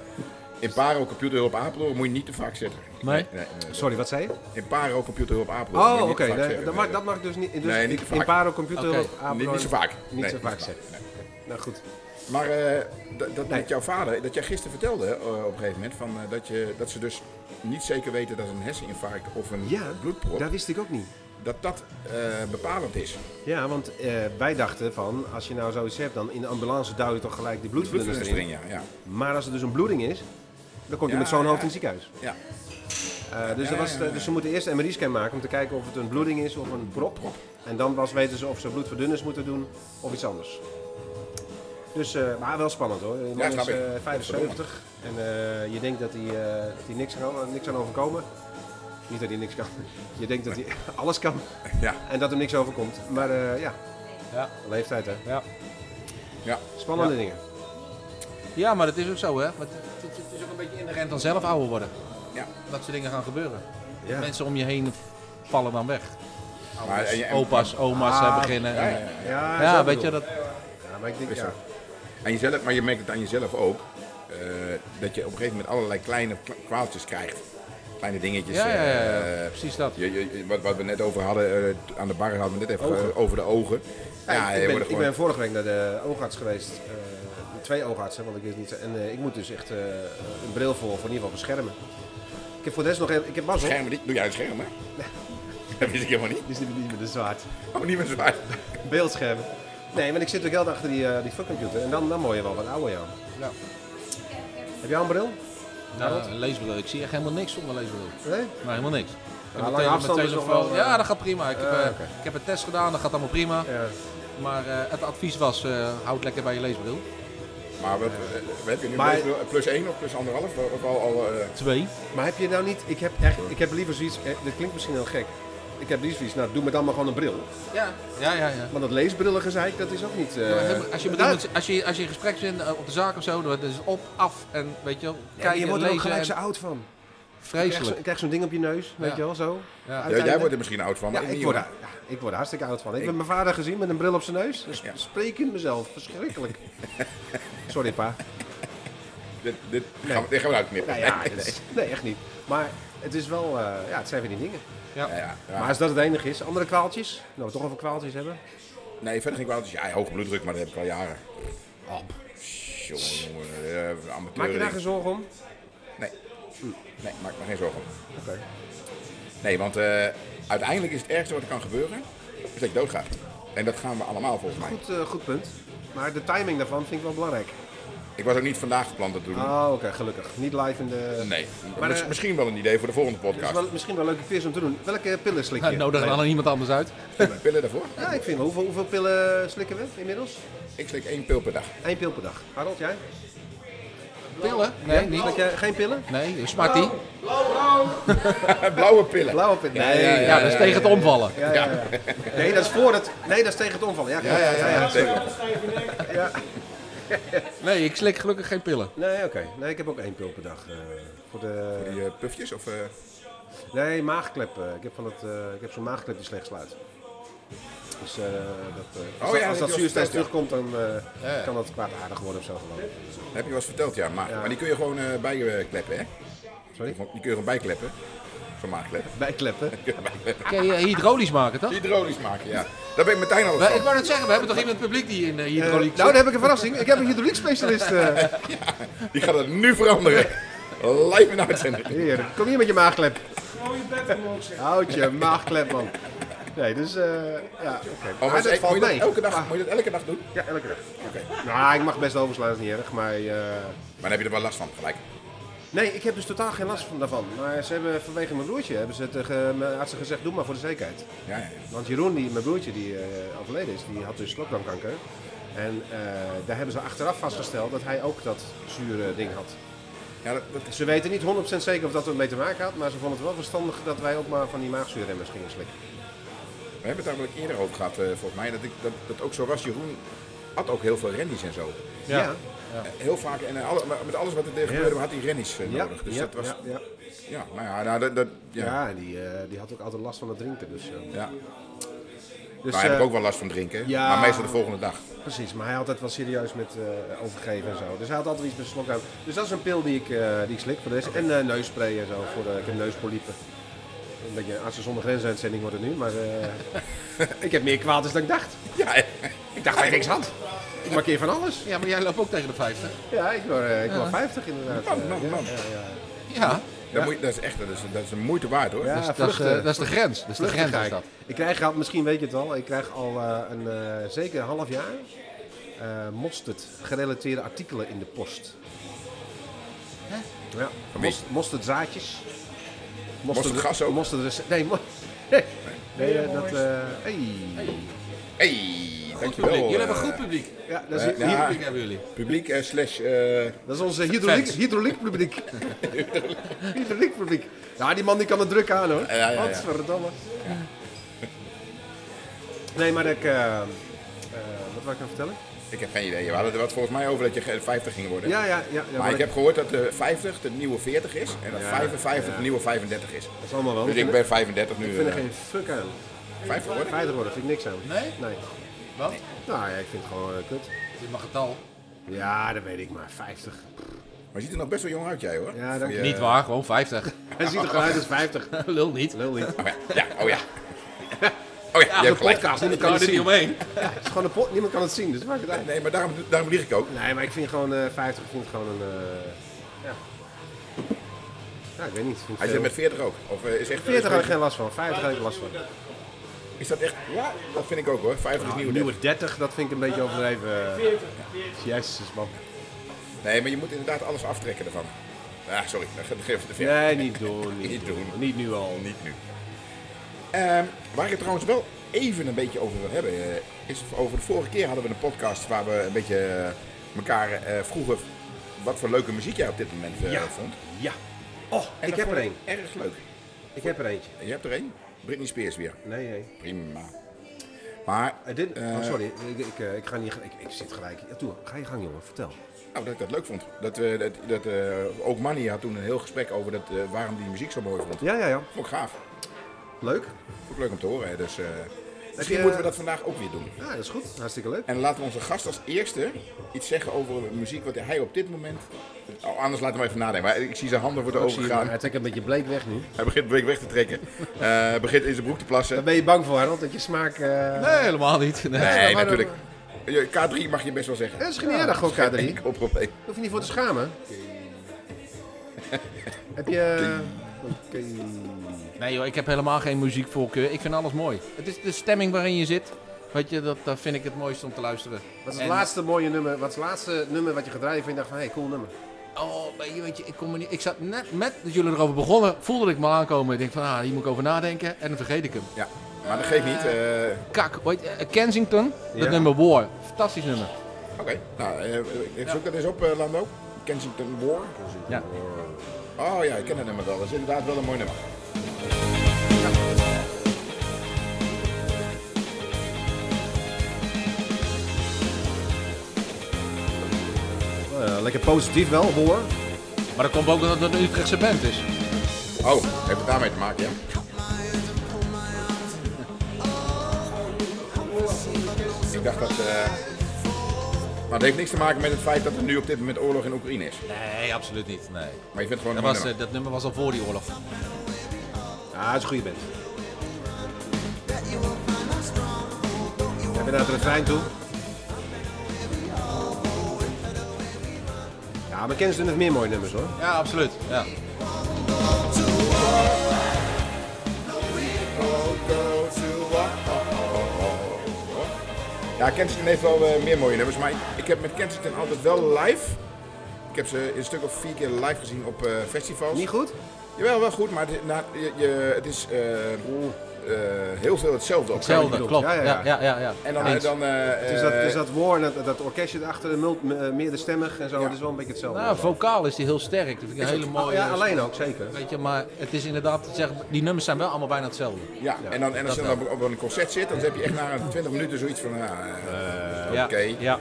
[SPEAKER 2] in Paro Computer Hulp Apeldoorn moet je niet te vaak zitten.
[SPEAKER 3] Nee?
[SPEAKER 2] nee, nee.
[SPEAKER 1] Sorry, wat zei je?
[SPEAKER 2] In Paro Computer Hulp Apeldoorn moet
[SPEAKER 1] Oh, oké.
[SPEAKER 2] je niet te vaak
[SPEAKER 1] nee,
[SPEAKER 2] zeggen.
[SPEAKER 1] dat, mag, dat mag dus niet. Dus
[SPEAKER 2] Nee, niet te vaak.
[SPEAKER 1] In Paro Computer
[SPEAKER 3] Oké.
[SPEAKER 1] of Apeldoorn
[SPEAKER 2] Niet, niet zo vaak.
[SPEAKER 1] Niet
[SPEAKER 2] Nee,
[SPEAKER 1] zo vaak zeggen. Nou goed.
[SPEAKER 2] Maar eh, dat, dat met jouw vader, dat jij gisteren vertelde eh, op een gegeven moment, van, eh, dat, je, dat ze dus niet zeker weten dat een herseninfarct of een
[SPEAKER 1] Ja,
[SPEAKER 2] bloedprop,
[SPEAKER 1] dat wist ik ook niet.
[SPEAKER 2] dat dat eh, bepalend is.
[SPEAKER 1] Ja, want eh, wij dachten van, als je nou zoiets hebt, dan in de ambulance duw je toch gelijk die bloedverdunners
[SPEAKER 2] Bloedverdunnering,
[SPEAKER 1] erin.
[SPEAKER 2] ja. ja.
[SPEAKER 1] Maar als er dus een bloeding is, dan komt je
[SPEAKER 2] Ja,
[SPEAKER 1] met zo'n
[SPEAKER 2] ja.
[SPEAKER 1] hoofd in het ziekenhuis.
[SPEAKER 2] ja.
[SPEAKER 1] Eh, dus, dat was, de- dus ze moeten eerst een MRI-scan maken om te kijken of het een bloeding is of een prop. En dan pas weten ze of ze bloedverdunners moeten doen of iets anders. Dus, eh, maar wel spannend hoor. De man
[SPEAKER 2] Ja, snap
[SPEAKER 1] is eh,
[SPEAKER 2] ik.
[SPEAKER 1] 75 en eh, je denkt dat hij, eh, dat hij niks, kan, niks aan overkomen. Niet dat hij niks kan. Je denkt dat hij alles kan
[SPEAKER 2] Ja.
[SPEAKER 1] en dat hem niks overkomt. Maar eh, ja,
[SPEAKER 3] Ja.
[SPEAKER 1] leeftijd hè.
[SPEAKER 3] Ja.
[SPEAKER 2] ja.
[SPEAKER 1] Spannende
[SPEAKER 3] Ja.
[SPEAKER 1] dingen.
[SPEAKER 3] ja, maar dat is ook zo, hè. Maar het, het- het is ook een beetje inherent aan zelf ouder worden.
[SPEAKER 2] Ja.
[SPEAKER 3] Dat soort dingen gaan gebeuren.
[SPEAKER 1] Ja.
[SPEAKER 3] Mensen om je heen vallen dan weg.
[SPEAKER 2] Maar, en, je- en-
[SPEAKER 3] Opa's, oma's
[SPEAKER 1] Ah,
[SPEAKER 3] eh, beginnen.
[SPEAKER 2] ja,
[SPEAKER 3] Ja,
[SPEAKER 2] ja, ja.
[SPEAKER 1] Ja, zo
[SPEAKER 3] weet je,
[SPEAKER 1] bedoel
[SPEAKER 3] dat,
[SPEAKER 1] ik. Ja, maar ik denk,
[SPEAKER 2] Is
[SPEAKER 1] ja.
[SPEAKER 2] zo. Aan jezelf, maar je merkt het aan jezelf ook. eh, dat je op een gegeven moment allerlei kleine kwa- kwaaltjes krijgt. Kleine dingetjes.
[SPEAKER 3] Ja, ja, ja, ja.
[SPEAKER 2] eh,
[SPEAKER 3] precies dat.
[SPEAKER 2] je- je- je- wat, wat we net over hadden, eh, t- aan de bar hadden we net even
[SPEAKER 1] Ogen.
[SPEAKER 2] eh, over de ogen.
[SPEAKER 1] Ja, ik,
[SPEAKER 2] je
[SPEAKER 1] ben,
[SPEAKER 2] wordt
[SPEAKER 1] ik
[SPEAKER 2] gewoon-
[SPEAKER 1] ben vorige week naar de oogarts geweest. eh, twee oogartsen, want ik is niet. En eh, ik moet dus echt eh, een bril voor, voor in ieder geval beschermen. Ik heb voor de rest nog even. Ik heb mazzel.
[SPEAKER 2] Schermen, die- doe jij het scherm, hè? Dat wist ik helemaal niet.
[SPEAKER 1] Dit is niet, niet meer de zwaard.
[SPEAKER 2] Oh, niet meer zwaar.
[SPEAKER 1] Beeldscherm. Nee, want ik zit ook heel de dag achter die, eh die fuckcomputer. En dan, dan word je wel wat ouder, Jan.
[SPEAKER 3] Ja.
[SPEAKER 1] Heb jij al een bril?
[SPEAKER 3] Nou, een leesbril. Ik zie echt helemaal niks zonder leesbril.
[SPEAKER 1] Nee?
[SPEAKER 3] Nee, helemaal niks. Ik heb
[SPEAKER 1] lange
[SPEAKER 3] mijn tele-
[SPEAKER 1] afstand is
[SPEAKER 3] mijn
[SPEAKER 1] nog
[SPEAKER 3] telefoon-
[SPEAKER 1] wel, eh,
[SPEAKER 3] Ja, dat gaat prima. Ik heb,
[SPEAKER 1] eh,
[SPEAKER 3] eh,
[SPEAKER 1] oké.
[SPEAKER 3] ik heb een test gedaan, dat gaat allemaal prima.
[SPEAKER 1] Ja.
[SPEAKER 3] Maar eh, het advies was, eh, houd lekker bij je leesbril.
[SPEAKER 2] Maar wat, eh, wat heb je nu?
[SPEAKER 1] Maar-
[SPEAKER 2] leesbril? Plus 1 of plus anderhalf? Of al, al, eh,
[SPEAKER 3] Twee.
[SPEAKER 1] Maar heb je nou niet, ik heb, echt, ik heb liever zoiets, eh, dit klinkt misschien heel gek. Ik heb liever zoiets, nou doe me dan maar gewoon een bril.
[SPEAKER 3] Ja, ja, ja. ja.
[SPEAKER 1] Want dat leesbrillige zei ik, dat is ook niet... eh,
[SPEAKER 3] Ja, maar helemaal- als, je
[SPEAKER 1] nou,
[SPEAKER 3] bedoelt, als, je, als, je, in gesprek bent eh, op de zaak of zo, dan is het dus op, af en weet je wel,
[SPEAKER 1] ja,
[SPEAKER 3] kijken,
[SPEAKER 1] je wordt er ook
[SPEAKER 3] lezen
[SPEAKER 1] gelijk
[SPEAKER 3] en-
[SPEAKER 1] zo oud van. Je krijgt, zo-
[SPEAKER 3] Vreselijk.
[SPEAKER 1] je krijgt zo'n ding op je neus, weet
[SPEAKER 3] Ja.
[SPEAKER 1] je wel, zo.
[SPEAKER 3] Ja.
[SPEAKER 2] ja, jij
[SPEAKER 1] Uiteindelijk-
[SPEAKER 2] wordt er misschien oud van,
[SPEAKER 1] Ja,
[SPEAKER 2] maar ik
[SPEAKER 1] ik
[SPEAKER 2] niet,
[SPEAKER 1] word,
[SPEAKER 2] hoor.
[SPEAKER 1] daar- ja, ik word er hartstikke oud van. Ik heb mijn vader gezien met een bril op zijn neus. Dus
[SPEAKER 2] Ja.
[SPEAKER 1] Sprekend mezelf, verschrikkelijk. Sorry pa.
[SPEAKER 2] Dit, dit, gaan we, dit gaan we uitknippen.
[SPEAKER 1] Nou ja, het is- nee, echt niet. Maar het is wel, eh, ja, het zijn weer die dingen.
[SPEAKER 2] Ja, ja, ja.
[SPEAKER 1] Maar als dat het enige is, andere kwaaltjes? Nou, toch over kwaaltjes hebben?
[SPEAKER 2] Nee, verder ging ik wel altijd... Ja, hoge bloeddruk, maar dat heb ik al jaren.
[SPEAKER 1] Eh,
[SPEAKER 2] Jongen, jongen, eh, amateur.
[SPEAKER 1] Maak je daar geen zorgen om?
[SPEAKER 2] Nee. Nee, maak me geen zorgen om.
[SPEAKER 1] Oké.
[SPEAKER 2] Nee, want eh, uiteindelijk is het ergste wat er kan gebeuren, is dat je doodgaat. En dat gaan we allemaal volgens mij.
[SPEAKER 1] Goed, eh, goed punt. Maar de timing daarvan vind ik wel belangrijk.
[SPEAKER 2] Ik was ook niet vandaag gepland te doen.
[SPEAKER 1] Oh, oké, gelukkig. Niet live in de...
[SPEAKER 2] nee.
[SPEAKER 1] Maar,
[SPEAKER 2] Miss-
[SPEAKER 1] eh,
[SPEAKER 2] misschien wel een idee voor de volgende
[SPEAKER 1] Het is
[SPEAKER 2] podcast.
[SPEAKER 1] wel, misschien wel een leuke quiz om te doen. Welke pillen slik je?
[SPEAKER 3] Nou, nodig dan nog iemand anders uit.
[SPEAKER 2] Hebben we Pillen daarvoor?
[SPEAKER 1] Ja, ik vind wel. Hoeveel, hoeveel pillen slikken we inmiddels?
[SPEAKER 2] Ik slik één pil per dag.
[SPEAKER 1] Eén pil per dag. Harold, jij?
[SPEAKER 3] Pillen? Nee,
[SPEAKER 1] Slik
[SPEAKER 3] niet.
[SPEAKER 1] jij geen pillen?
[SPEAKER 3] Nee, Smartie.
[SPEAKER 2] Eh, Blauwe pillen.
[SPEAKER 1] Blauwe pillen?
[SPEAKER 2] Ja, ja,
[SPEAKER 3] Ja, dat is tegen het omvallen.
[SPEAKER 1] Ja, ja, ja. Nee, dat is voor het... Nee, dat is tegen het omvallen. Ja, klopt.
[SPEAKER 2] Ja, ja, ja. ja, zeker.
[SPEAKER 3] Nee, ik slik gelukkig geen pillen.
[SPEAKER 1] Nee, oké. Nee, ik heb ook één pil per dag. eh, voor de...
[SPEAKER 2] Die eh, pufjes of... eh,
[SPEAKER 1] Nee, maagklep. eh, Ik heb, van het, eh, ik heb zo'n maagklep die slecht sluit. Dus eh, dat, eh, als, dat, als
[SPEAKER 2] ja, dat heb
[SPEAKER 1] dat
[SPEAKER 2] je al
[SPEAKER 1] zuurstijf
[SPEAKER 2] verteld,
[SPEAKER 1] terugkomt, dan eh, kan dat kwaadaardig worden of zo. geloof ik.
[SPEAKER 2] heb je wel eens verteld, ja. Maar, maar die kun je gewoon eh, bijkleppen, hè?
[SPEAKER 1] Sorry?
[SPEAKER 2] Die kun je gewoon bijkleppen. Zo'n maagklep.
[SPEAKER 1] Bijkleppen.
[SPEAKER 3] Kun je eh, hydraulisch maken, toch?
[SPEAKER 2] Hydraulisch maken, ja. Daar ben ik meteen al op
[SPEAKER 3] We- Ik
[SPEAKER 2] van.
[SPEAKER 3] wou net zeggen, we hebben toch iemand in het publiek die in eh,
[SPEAKER 1] Eh,
[SPEAKER 3] hydrauliek
[SPEAKER 1] nou, dan heb ik een verrassing. Ik heb een hydrauliekspecialist. eh
[SPEAKER 2] Die gaat het nu veranderen. Live in de uitzending.
[SPEAKER 1] Heer, kom hier met je maagklep. Houd je maagklep, man. Nee, dus eh, ja, oké.
[SPEAKER 2] Oh,
[SPEAKER 1] Maar
[SPEAKER 2] maar
[SPEAKER 1] dat
[SPEAKER 2] moet,
[SPEAKER 1] valt
[SPEAKER 2] je dat
[SPEAKER 1] mee. Ah.
[SPEAKER 2] elke dag, moet je dat elke dag doen?
[SPEAKER 1] Ja, elke dag. Nou, ik mag best overslaan, dat is niet erg, maar... eh,
[SPEAKER 2] Maar dan heb je er wel last van, gelijk.
[SPEAKER 1] Nee, ik heb dus totaal geen last van daarvan. Maar ze hebben vanwege mijn broertje hebben ze tegen mijn artsen gezegd, doe maar voor de zekerheid.
[SPEAKER 2] Ja, ja.
[SPEAKER 1] Want Jeroen, die, mijn broertje die eh, overleden is, die had dus slokdarmkanker. En eh, daar hebben ze achteraf vastgesteld dat hij ook dat zure ding had.
[SPEAKER 2] ja dat, dat is...
[SPEAKER 1] Ze weten niet 100% zeker of dat ermee te maken had, maar ze vonden het wel verstandig dat wij ook maar van die maagzuurremmers gingen slikken.
[SPEAKER 2] We hebben het daar wel een keer eerder over gehad, eh, volgens mij. Dat, ik, dat, dat ook zo was. Jeroen had ook heel veel rennies en zo.
[SPEAKER 3] Ja.
[SPEAKER 2] Eh, Heel vaak. En eh, alle- maar met alles wat er gebeurde had hij rennies eh,
[SPEAKER 1] Ja,
[SPEAKER 2] nodig. Dus
[SPEAKER 1] ja,
[SPEAKER 2] dat was...
[SPEAKER 1] ja, ja.
[SPEAKER 2] Ja, nou ja, nou, dat... dat ja.
[SPEAKER 1] Ja, en die, eh, die had ook altijd last van het drinken. Dus, eh,
[SPEAKER 2] Ja.
[SPEAKER 1] dus
[SPEAKER 2] Daar heb ik
[SPEAKER 1] eh,
[SPEAKER 2] ook wel last van drinken.
[SPEAKER 1] ja.
[SPEAKER 2] Maar meestal de volgende dag.
[SPEAKER 1] Precies, maar hij had het wel serieus met eh, overgeven en zo. Dus hij had altijd iets met slokdarm. Dus dat is een pil die ik, eh, die ik slik voor de rest. En eh neusspray en zo. Voor, eh, ik heb neuspolypen. Een beetje een artsen zonder grenzen uitzending wordt het nu. Maar eh, ik heb meer kwaad dan ik dacht.
[SPEAKER 2] Ja, eh,
[SPEAKER 1] Ik dacht dat ik niks had. Ik markeer van alles.
[SPEAKER 3] Ja, maar jij loopt ook tegen de 50.
[SPEAKER 1] Ja, ik word, eh, ik word 50 inderdaad.
[SPEAKER 2] man, man, man.
[SPEAKER 3] Ja,
[SPEAKER 2] Dat, moet je- dat is echt dat is, dat is een moeite waard, hoor.
[SPEAKER 1] Ja,
[SPEAKER 2] Dus-
[SPEAKER 3] dat is, eh,
[SPEAKER 1] vluchten.
[SPEAKER 3] dat is de grens. Dat is de
[SPEAKER 1] Vluchten
[SPEAKER 3] grens,
[SPEAKER 1] ga
[SPEAKER 3] is
[SPEAKER 1] ik.
[SPEAKER 3] dat.
[SPEAKER 1] Ik krijg al, misschien weet je het al, ik krijg al eh, een eh, zeker een half jaar eh mosterd gerelateerde artikelen in de post. Hè? Ja,
[SPEAKER 2] wie?
[SPEAKER 1] most, mosterdzaadjes.
[SPEAKER 2] Mosterdgas ook?
[SPEAKER 1] Mosterd, nee, mo- nee, eh, dat... eh, hey.
[SPEAKER 2] Hey, dankjewel.
[SPEAKER 3] Publiek. Jullie hebben
[SPEAKER 2] eh,
[SPEAKER 3] een goed publiek.
[SPEAKER 1] Ja, dat is,
[SPEAKER 2] Eh,
[SPEAKER 1] hier-
[SPEAKER 2] ja.
[SPEAKER 3] Publiek hebben jullie.
[SPEAKER 2] Publiek eh, slash... eh,
[SPEAKER 1] dat is onze hydrauliek,
[SPEAKER 3] Fans.
[SPEAKER 1] hydrauliekpubliek. hydrauliekpubliek. Ja, die man die kan het druk aan hoor.
[SPEAKER 2] Ja, ja, ja.
[SPEAKER 1] Godverdamme. Nee, maar dat ik... eh, eh, wat wil ik nou vertellen?
[SPEAKER 2] ik heb geen idee. We hadden er wat volgens mij over dat je ge- 50 ging worden.
[SPEAKER 1] Ja, ja, ja. ja
[SPEAKER 2] Maar ik
[SPEAKER 1] dat-
[SPEAKER 2] heb gehoord dat de 50 de nieuwe 40 is en dat 55 de nieuwe 35 is.
[SPEAKER 1] Dat is allemaal wel.
[SPEAKER 2] Dus ik ben 35 nu.
[SPEAKER 1] Ik vind er
[SPEAKER 2] eh,
[SPEAKER 1] geen fuck aan.
[SPEAKER 2] 50 hoor.
[SPEAKER 1] 50 worden vind ik niks aan.
[SPEAKER 3] Nee?
[SPEAKER 1] Nee.
[SPEAKER 3] Wat?
[SPEAKER 1] Nou ja, ik vind het gewoon eh, kut.
[SPEAKER 3] Dit mag het al.
[SPEAKER 1] Ja, dat weet ik maar. 50.
[SPEAKER 2] Maar je ziet er nog best wel jong uit jij hoor.
[SPEAKER 1] Ja,
[SPEAKER 2] Voor
[SPEAKER 1] dank
[SPEAKER 2] je-
[SPEAKER 3] Niet waar, gewoon 50.
[SPEAKER 1] Hij ziet er gewoon uit als 50.
[SPEAKER 3] Lul niet.
[SPEAKER 1] Lul niet.
[SPEAKER 2] Oh ja, ja, oh ja. Oh ja, je hebt gelijk.
[SPEAKER 1] podcast, niemand
[SPEAKER 3] Ik
[SPEAKER 1] kan
[SPEAKER 3] kan
[SPEAKER 1] het
[SPEAKER 3] er niet
[SPEAKER 1] zien.
[SPEAKER 3] omheen.
[SPEAKER 1] Het is gewoon een pot, niemand kan het zien, dus maak het uit.
[SPEAKER 2] Nee, maar daarom, daarom lieg ik ook.
[SPEAKER 1] Nee, maar ik vind gewoon eh 50 ik vind het gewoon een. eh, ja. ja, ik weet niet. ik vind
[SPEAKER 2] Hij
[SPEAKER 1] veel.
[SPEAKER 2] zit met 40 ook. Of eh, is echt
[SPEAKER 1] 40 heb ik geen last van, 50 heb ik last van.
[SPEAKER 2] Is dat echt? Ja, dat vind ik ook hoor. 50 is nieuw.
[SPEAKER 1] Nieuwe 30, dat vind ik een beetje overdreven. 40. Jezus man.
[SPEAKER 2] Nee, maar je moet inderdaad alles aftrekken ervan. Ah, sorry, dat ge- dat geeft de verf.
[SPEAKER 1] Nee, niet doen. Niet,
[SPEAKER 2] Niet
[SPEAKER 1] doen.
[SPEAKER 2] doen.
[SPEAKER 1] Niet nu al.
[SPEAKER 2] Niet nu. Ehm, waar ik het trouwens wel even een beetje over wil hebben, eh, is over de vorige keer hadden we een podcast waar we een beetje eh, elkaar eh, vroegen wat voor leuke muziek jij op dit moment eh,
[SPEAKER 1] Ja.
[SPEAKER 2] vond.
[SPEAKER 1] Ja. Oh, ik
[SPEAKER 2] En
[SPEAKER 1] heb
[SPEAKER 2] dat
[SPEAKER 1] er
[SPEAKER 2] vond
[SPEAKER 1] één.
[SPEAKER 2] ik Erg leuk.
[SPEAKER 1] Ik heb er eentje.
[SPEAKER 2] Je hebt er één? Britney Spears weer.
[SPEAKER 1] Nee, nee.
[SPEAKER 2] Prima. Maar,
[SPEAKER 1] Eh, dit, oh,
[SPEAKER 2] Eh.
[SPEAKER 1] sorry, ik, ik, eh, ik ga niet. Ik, ik zit gelijk. Ja, toe, ga je gang, jongen. Vertel.
[SPEAKER 2] nou, dat ik dat leuk vond. Dat, we dat, dat, eh, ook Manny had toen een heel gesprek over dat, eh, waarom die muziek zo mooi vond.
[SPEAKER 1] Ja, ja, ja.
[SPEAKER 2] Vond ik gaaf.
[SPEAKER 1] Leuk.
[SPEAKER 2] Vond ik leuk om te horen. hè. Dus, eh, misschien
[SPEAKER 1] je-
[SPEAKER 2] moeten we dat vandaag ook weer doen.
[SPEAKER 1] Ja, dat is goed. Hartstikke leuk.
[SPEAKER 2] En laten we onze gast als eerste iets zeggen over muziek wat hij op dit moment... Oh, anders laten we hem even nadenken. Maar ik zie zijn handen worden
[SPEAKER 1] Ik Oh, zie hem,
[SPEAKER 2] overgegaan.
[SPEAKER 1] Hij trekt een beetje bleek weg nu.
[SPEAKER 2] Hij begint bleek weg te trekken. Eh, begint in zijn broek te plassen.
[SPEAKER 1] Daar ben je bang voor, Harold, dat je smaak... eh
[SPEAKER 3] Nee, helemaal niet. Nee.
[SPEAKER 2] Nee,
[SPEAKER 1] maar
[SPEAKER 2] natuurlijk. Je- K3 mag je best wel zeggen.
[SPEAKER 1] Dat is geen erg, hoor, K3. Daar
[SPEAKER 2] Enkel probleem.
[SPEAKER 1] hoef je niet voor te schamen. Heb je... eh, Oké.
[SPEAKER 3] nee joh, ik heb helemaal geen muziekvoorkeur. Ik vind alles mooi. Het is de stemming waarin je zit. Weet je, dat, dat vind ik het mooiste om te luisteren.
[SPEAKER 1] Wat is het
[SPEAKER 3] En-
[SPEAKER 1] laatste mooie nummer? Wat is het laatste nummer wat je gedraaid hebt en je dacht van, hé, hey, cool nummer.
[SPEAKER 3] Oh, weet je, weet je, ik kom er niet... Ik zat net met dat jullie erover begonnen, voelde ik me al aankomen. Ik denk van, ah, hier moet ik over nadenken. En dan vergeet ik hem.
[SPEAKER 2] Ja, maar dat geeft niet. eh,
[SPEAKER 3] Kak, weet je, eh, Kensington, dat
[SPEAKER 1] Ja.
[SPEAKER 3] nummer War. Fantastisch nummer.
[SPEAKER 2] Oké, nou, eh, eh, ik zoek dat eens op, eh, Lando. Kensington War.
[SPEAKER 3] Ja.
[SPEAKER 2] Oh ja, ik ken dat nummer wel. Dat is inderdaad wel een mooi nummer.
[SPEAKER 1] Eh, lekker positief wel, hoor.
[SPEAKER 3] Maar dat komt ook omdat het een Utrechtse band is.
[SPEAKER 2] Oh, heeft het daarmee te maken, ja? Ik dacht dat... eh, Maar het heeft niks te maken met het feit dat er nu op dit moment oorlog in Oekraïne is.
[SPEAKER 3] Nee, absoluut niet. Nee.
[SPEAKER 2] Maar je vindt gewoon een
[SPEAKER 3] Dat,
[SPEAKER 2] mooi
[SPEAKER 3] was,
[SPEAKER 2] nummer.
[SPEAKER 3] eh, dat nummer was al voor die oorlog.
[SPEAKER 1] Ja, dat is een goede band. Heb je naar het refrein toe? Ja, maar kennen ze nog meer mooie nummers hoor.
[SPEAKER 3] Ja, absoluut. Ja.
[SPEAKER 2] Ja, Kensington heeft wel eh, meer mooie nummers, maar ik, ik heb met Kensington altijd wel live. Ik heb ze een stuk of vier keer live gezien op eh, festivals.
[SPEAKER 1] Niet goed?
[SPEAKER 2] Jawel, wel goed, maar het, na- je, je- het is eh, eh, heel veel hetzelfde. ook.
[SPEAKER 3] Hetzelfde,
[SPEAKER 1] bedoelt.
[SPEAKER 3] klopt.
[SPEAKER 1] Ja,
[SPEAKER 3] Ja,
[SPEAKER 1] ja,
[SPEAKER 3] ja,
[SPEAKER 1] ja.
[SPEAKER 3] ja. ja,
[SPEAKER 2] En dan,
[SPEAKER 3] Eens.
[SPEAKER 2] dan eh,
[SPEAKER 1] Het is dat, het is dat War en dat, dat orkestje erachter, mult, me- meerderstemmig en zo, het is wel een beetje hetzelfde.
[SPEAKER 3] Nou, eh, vocaal is die heel sterk. Dat vind ik een hele
[SPEAKER 1] Oh,
[SPEAKER 2] ah,
[SPEAKER 3] mooie...
[SPEAKER 1] ja, alleen ook, zeker.
[SPEAKER 3] Weet je, maar het is inderdaad, zeg, die nummers zijn wel allemaal bijna hetzelfde.
[SPEAKER 2] ja, en dan, en als je
[SPEAKER 3] dat
[SPEAKER 2] dan op, op een concert zit, dan heb je echt na 20 minuten zoiets van, nou, eh, oké,
[SPEAKER 3] Ja, ja.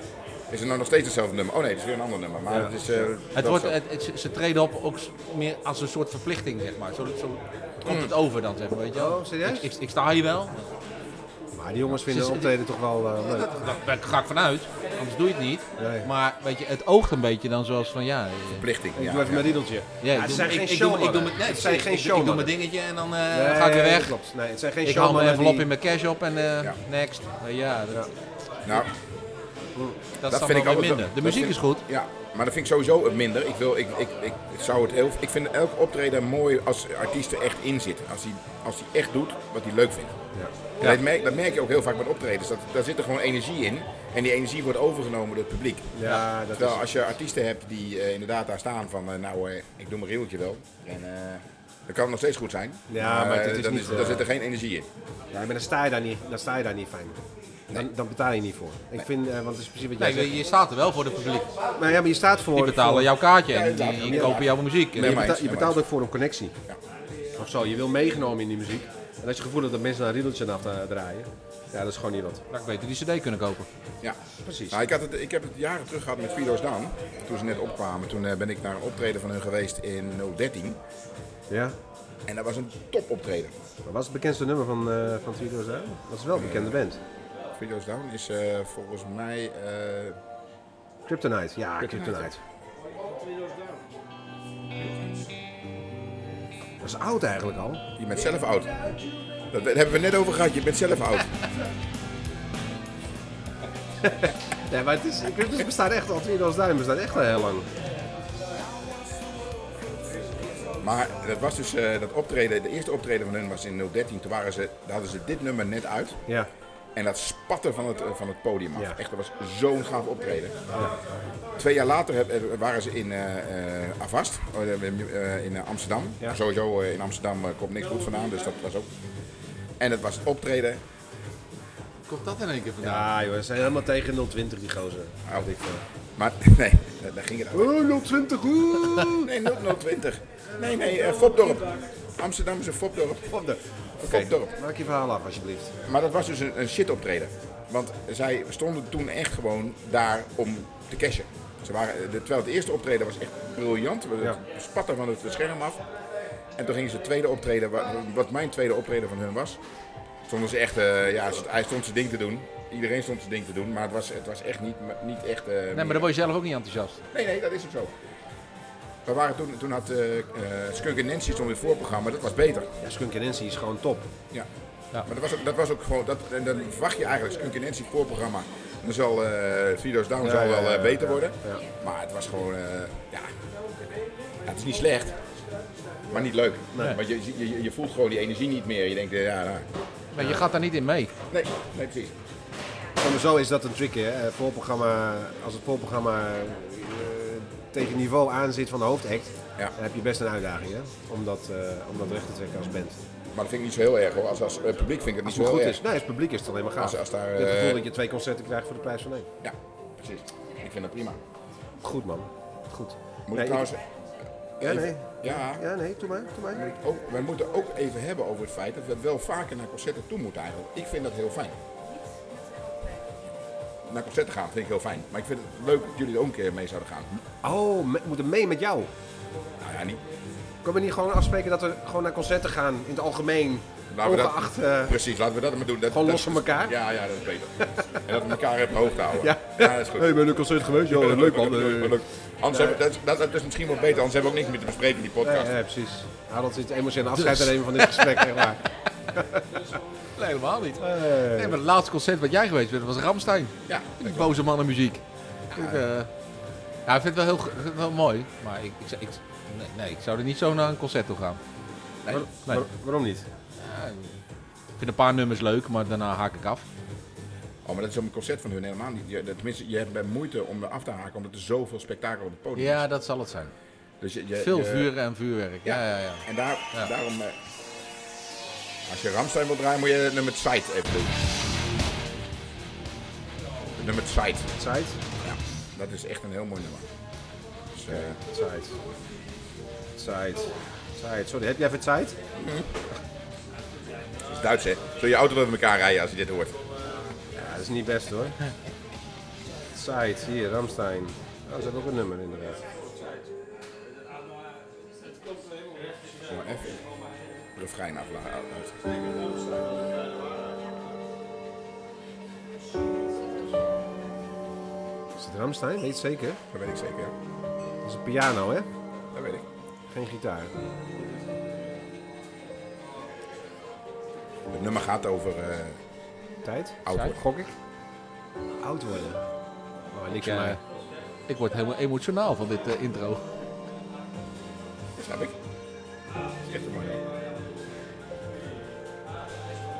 [SPEAKER 2] is het nou nog steeds hetzelfde nummer? Oh nee, het is weer een ander nummer, maar het is... eh,
[SPEAKER 3] Het
[SPEAKER 2] wel
[SPEAKER 3] wordt,
[SPEAKER 2] zo.
[SPEAKER 3] het, het- ze- ze treden op ook s- meer als een soort verplichting, zeg maar. Zo, zo komt
[SPEAKER 2] Mm.
[SPEAKER 3] het over dan, zeg maar. Weet je wel.
[SPEAKER 1] Oh, serieus?
[SPEAKER 3] Ik, ik, ik sta hier wel.
[SPEAKER 1] Maar die jongens vinden optreden toch wel eh, leuk.
[SPEAKER 3] Daar ben ik- ga ik vanuit, anders doe je het niet.
[SPEAKER 1] Nee.
[SPEAKER 3] Maar weet je, het oogt een beetje dan zoals van ja. eh,
[SPEAKER 2] verplichting,
[SPEAKER 1] Ik
[SPEAKER 2] ja.
[SPEAKER 1] doe even mijn riedeltje.
[SPEAKER 3] ja, ik
[SPEAKER 1] het
[SPEAKER 3] doe-
[SPEAKER 1] zijn
[SPEAKER 3] ik-
[SPEAKER 1] geen
[SPEAKER 3] ik doe- ik doe
[SPEAKER 1] showmannen.
[SPEAKER 3] mijn- nee,
[SPEAKER 1] Het zijn
[SPEAKER 3] precies,
[SPEAKER 1] geen
[SPEAKER 3] ik- Ik doe
[SPEAKER 1] showmannen.
[SPEAKER 3] mijn dingetje en dan eh, ga ik weer weg.
[SPEAKER 1] Klopt. Nee, het zijn geen
[SPEAKER 3] Ik haal mijn
[SPEAKER 1] showmannen
[SPEAKER 3] envelop
[SPEAKER 1] die-
[SPEAKER 3] in mijn cash op en eh,
[SPEAKER 2] Ja.
[SPEAKER 3] next. Eh, ja, dat,
[SPEAKER 2] Nou,
[SPEAKER 3] dat,
[SPEAKER 2] dat
[SPEAKER 3] is dan
[SPEAKER 2] vind ik
[SPEAKER 3] wel
[SPEAKER 2] altijd
[SPEAKER 3] weer minder.
[SPEAKER 2] dat
[SPEAKER 3] De muziek
[SPEAKER 2] vind-
[SPEAKER 3] is goed.
[SPEAKER 2] Ja, maar dat vind ik sowieso het minder. Ik, wil, ik, ik, ik, ik zou het heel, ik vind elk optreden mooi als de artiest er echt in zit. Als hij, als hij echt doet wat hij leuk vindt. En Dat, merk, dat merk je ook heel vaak met optredens. Dat, daar zit er gewoon energie in. En die energie wordt overgenomen door het publiek.
[SPEAKER 1] Ja, dat is...
[SPEAKER 2] Terwijl als je artiesten hebt die eh, inderdaad daar staan van, eh, nou eh, ik doe mijn reeltje wel. En eh, dat kan nog steeds goed zijn.
[SPEAKER 1] Ja, maar
[SPEAKER 2] eh,
[SPEAKER 1] het is
[SPEAKER 2] dan
[SPEAKER 1] niet,
[SPEAKER 2] daar
[SPEAKER 1] eh,
[SPEAKER 2] zit er geen energie in.
[SPEAKER 1] Ja, maar dan sta je daar niet, dan sta je daar niet fijn. Dan, dan betaal je niet voor. Ik vind, eh, want het is precies wat jij
[SPEAKER 3] Nee, je- je staat er wel voor het publiek.
[SPEAKER 1] zegt. Maar ja, maar je staat voor...
[SPEAKER 3] Die betalen
[SPEAKER 1] voor-
[SPEAKER 3] jouw kaartje en
[SPEAKER 2] inderdaad.
[SPEAKER 3] die,
[SPEAKER 2] Ja.
[SPEAKER 3] die kopen jouw muziek.
[SPEAKER 2] Nee,
[SPEAKER 1] je,
[SPEAKER 2] maar
[SPEAKER 1] beta-
[SPEAKER 2] eens,
[SPEAKER 1] je
[SPEAKER 2] ja,
[SPEAKER 1] betaalt
[SPEAKER 2] maar
[SPEAKER 1] ook voor een connectie.
[SPEAKER 2] Ja.
[SPEAKER 1] Of zo, je wil meegenomen in die muziek. En als je gevoel hebt dat mensen naar een riedeltje af eh, draaien, ja, dat is gewoon niet wat.
[SPEAKER 3] Dan had ik beter die cd kunnen kopen.
[SPEAKER 2] Ja,
[SPEAKER 1] Precies.
[SPEAKER 2] Nou, ik, had het, ik heb het jaren terug gehad met Fido's Down. Toen ze net opkwamen, toen eh, ben ik naar een optreden van hun geweest in 013.
[SPEAKER 1] Ja?
[SPEAKER 2] En dat was een topoptreden.
[SPEAKER 1] Maar wat is het bekendste nummer van, eh van Three Doors Down? Dat is wel een bekende band.
[SPEAKER 2] Fido's Down is eh, volgens mij. eh,
[SPEAKER 1] Kryptonite. Ja, Kryptonite.
[SPEAKER 2] Kryptonite.
[SPEAKER 1] Dat is oud eigenlijk al.
[SPEAKER 2] je bent zelf oud. Dat, daar hebben we net over gehad, je bent zelf oud.
[SPEAKER 1] Nee, maar het is, Kryptonite bestaat echt al. Three Doors Down bestaat echt al heel lang.
[SPEAKER 2] Maar dat was dus eh, dat optreden, de eerste optreden van hun was in 013. Toen waren ze, daar hadden ze dit nummer net uit.
[SPEAKER 1] Ja.
[SPEAKER 2] En dat spatte van het, eh, van het podium af.
[SPEAKER 1] Ja.
[SPEAKER 2] Echt, dat was zo'n gaaf optreden. Twee jaar later heb- eh, waren ze in eh eh, Avast, eh, eh, in eh, Amsterdam.
[SPEAKER 1] Ja.
[SPEAKER 2] Sowieso eh, in Amsterdam eh, komt niks goed vandaan, dus dat was ook. En dat was het optreden.
[SPEAKER 3] Komt dat in één keer vandaan?
[SPEAKER 1] Ja, Ah, joh, ze zijn helemaal tegen 020 die gozer.
[SPEAKER 2] Oh, maar nee, daar- daar ging het over.
[SPEAKER 1] Oh, 020, oeh!
[SPEAKER 2] Nee, 0020. Nee, nee, eh, Fopdorp. Amsterdam is een Fopdorp.
[SPEAKER 1] Op de- Oké,
[SPEAKER 2] Fopdorp.
[SPEAKER 1] maak je verhaal af alsjeblieft.
[SPEAKER 2] Maar dat was dus een, een shit optreden. Want zij stonden toen echt gewoon daar om te cashen. Ze waren, eh, de, terwijl het eerste optreden was echt briljant. Het
[SPEAKER 1] Ja.
[SPEAKER 2] spatten van het scherm af. En toen gingen ze het tweede optreden, wa- wat mijn tweede optreden van hun was. Stonden ze echt, eh, ja, ze- hij stond zijn ding te doen. Iedereen stond zijn ding te doen. Maar het was, het was echt niet, niet echt... eh,
[SPEAKER 3] Nee, maar
[SPEAKER 2] meer-
[SPEAKER 3] dan word je zelf ook niet enthousiast.
[SPEAKER 2] Nee, nee, dat is ook zo. We waren toen, toen had eh eh, Skunk en Nancy stond in het voorprogramma, dat was beter.
[SPEAKER 1] Ja, Skunk en Nancy is gewoon top.
[SPEAKER 2] Ja.
[SPEAKER 3] Ja.
[SPEAKER 2] Maar dat was ook, dat was ook gewoon, dat, en dan verwacht je eigenlijk Skunk en Nancy voorprogramma. Dan zal eh Video's Down zal
[SPEAKER 1] ja,
[SPEAKER 2] wel eh,
[SPEAKER 1] ja,
[SPEAKER 2] beter worden.
[SPEAKER 1] ja.
[SPEAKER 2] Maar het was gewoon, eh, ja. ja, het is niet slecht, maar niet leuk. Want je, je, je- je voelt gewoon die energie niet meer. Je denkt, eh, ja, nou,
[SPEAKER 3] Maar je gaat daar niet in mee.
[SPEAKER 2] nee, nee, precies.
[SPEAKER 1] Maar zo is dat een trick, hè. Eh, Voorprogramma, als het voorprogramma eh, tegen niveau aan zit van de hoofdact,
[SPEAKER 2] Ja.
[SPEAKER 1] dan heb je best een uitdaging, hè. Om dat, eh, om dat recht te trekken als band.
[SPEAKER 2] Maar dat vind ik niet zo heel erg hoor. Als, als eh, publiek vind ik het niet
[SPEAKER 1] Als
[SPEAKER 2] zo
[SPEAKER 1] het
[SPEAKER 2] heel
[SPEAKER 1] goed
[SPEAKER 2] erg.
[SPEAKER 1] is. Nee, als het publiek is het alleen maar gaaf.
[SPEAKER 2] Als- als daar,
[SPEAKER 1] Het
[SPEAKER 2] eh,
[SPEAKER 1] gevoel dat je twee concerten krijgt voor de prijs van één.
[SPEAKER 2] Ja, precies. Ik vind dat prima.
[SPEAKER 1] Goed, man. Goed.
[SPEAKER 2] Moet
[SPEAKER 1] Nee,
[SPEAKER 2] ik trouwens...
[SPEAKER 1] Ja, nee.
[SPEAKER 2] Ja.
[SPEAKER 1] Ja, nee, doe maar, doe maar.
[SPEAKER 2] Ook, wij moeten ook even hebben over het feit dat we wel vaker naar concerten toe moeten eigenlijk. Ik vind dat heel fijn. Naar concerten gaan vind ik heel fijn. Maar ik vind het leuk dat jullie er ook een keer mee zouden gaan.
[SPEAKER 1] Oh, me- we moeten mee met jou.
[SPEAKER 2] Nou ja, niet.
[SPEAKER 1] Kunnen we niet gewoon afspreken dat we gewoon naar concerten gaan in het algemeen?
[SPEAKER 2] Laten we dat-
[SPEAKER 1] ongeacht, eh,
[SPEAKER 2] precies, laten we dat maar doen. Dat,
[SPEAKER 1] Gewoon
[SPEAKER 2] dat-
[SPEAKER 1] los van elkaar?
[SPEAKER 2] Ja, ja, dat is beter. en dat we elkaar even hoog houden.
[SPEAKER 1] Ja.
[SPEAKER 2] dat is goed.
[SPEAKER 1] Hey, ben je een concert geweest? Ja, leuk man.
[SPEAKER 2] Leuk,
[SPEAKER 1] Eh,
[SPEAKER 2] leuk. Anders hebben, dat, is- dat, dat is misschien wel beter, anders hebben we ook niks meer te bespreken in die
[SPEAKER 1] Ja,
[SPEAKER 2] podcast.
[SPEAKER 1] ja, precies. Harold zit emotioneel
[SPEAKER 2] Dus.
[SPEAKER 1] afscheid te nemen van dit gesprek, zeg maar.
[SPEAKER 3] Nee, helemaal niet. Nee, maar het laatste concert wat jij geweest bent was Ramstein.
[SPEAKER 2] Ja,
[SPEAKER 3] Die boze mannenmuziek. Ik, eh, ja, ik vind het wel heel g- vind het wel mooi, maar ik, ik, zou- ik, nee, nee, ik zou er niet zo naar een concert toe gaan.
[SPEAKER 2] nee.
[SPEAKER 3] Nee.
[SPEAKER 1] Waar- waarom niet?
[SPEAKER 3] Ja, ik vind een paar nummers leuk, maar daarna haak ik af.
[SPEAKER 2] Oh, maar dat is op een concert van hun helemaal niet. Je, tenminste, je hebt bij moeite om er af te haken, omdat er zoveel spektakel op het podium is.
[SPEAKER 3] Ja, dat zal het zijn.
[SPEAKER 2] Dus je, je-
[SPEAKER 3] Veel
[SPEAKER 2] je-
[SPEAKER 3] vuren en vuurwerk. Ja, ja, ja.
[SPEAKER 2] En daar,
[SPEAKER 3] Ja.
[SPEAKER 2] daarom, eh, als je Ramstein wil draaien, moet je het nummer Zeit even doen. Het nummer Zeit,
[SPEAKER 1] Side?
[SPEAKER 2] ja. Dat is echt een heel mooi nummer. Dus, eh,
[SPEAKER 1] Side. Side. Side. Sorry, heb jij even tijd?
[SPEAKER 2] het is Duits, hè? Zul je auto door elkaar rijden als je dit hoort?
[SPEAKER 1] Ja, dat is niet best hoor. Side, hier, Ramstein. Oh, er zit ook een nummer inderdaad.
[SPEAKER 2] Kom maar even het refrein afladen.
[SPEAKER 1] Is het Ramstein? Weet je het zeker?
[SPEAKER 2] Dat weet ik zeker, ja.
[SPEAKER 1] Dat is een piano, hè?
[SPEAKER 2] Dat weet ik.
[SPEAKER 1] Geen gitaar.
[SPEAKER 2] Het nummer gaat over... eh,
[SPEAKER 1] Tijd?
[SPEAKER 2] Oud worden.
[SPEAKER 1] Gok ik? Oud worden. Oh, niks
[SPEAKER 3] Ik,
[SPEAKER 1] van
[SPEAKER 3] eh,
[SPEAKER 1] mij.
[SPEAKER 3] ik word helemaal emotionaal van dit eh, intro.
[SPEAKER 2] snap ik. Dat is echt een mooi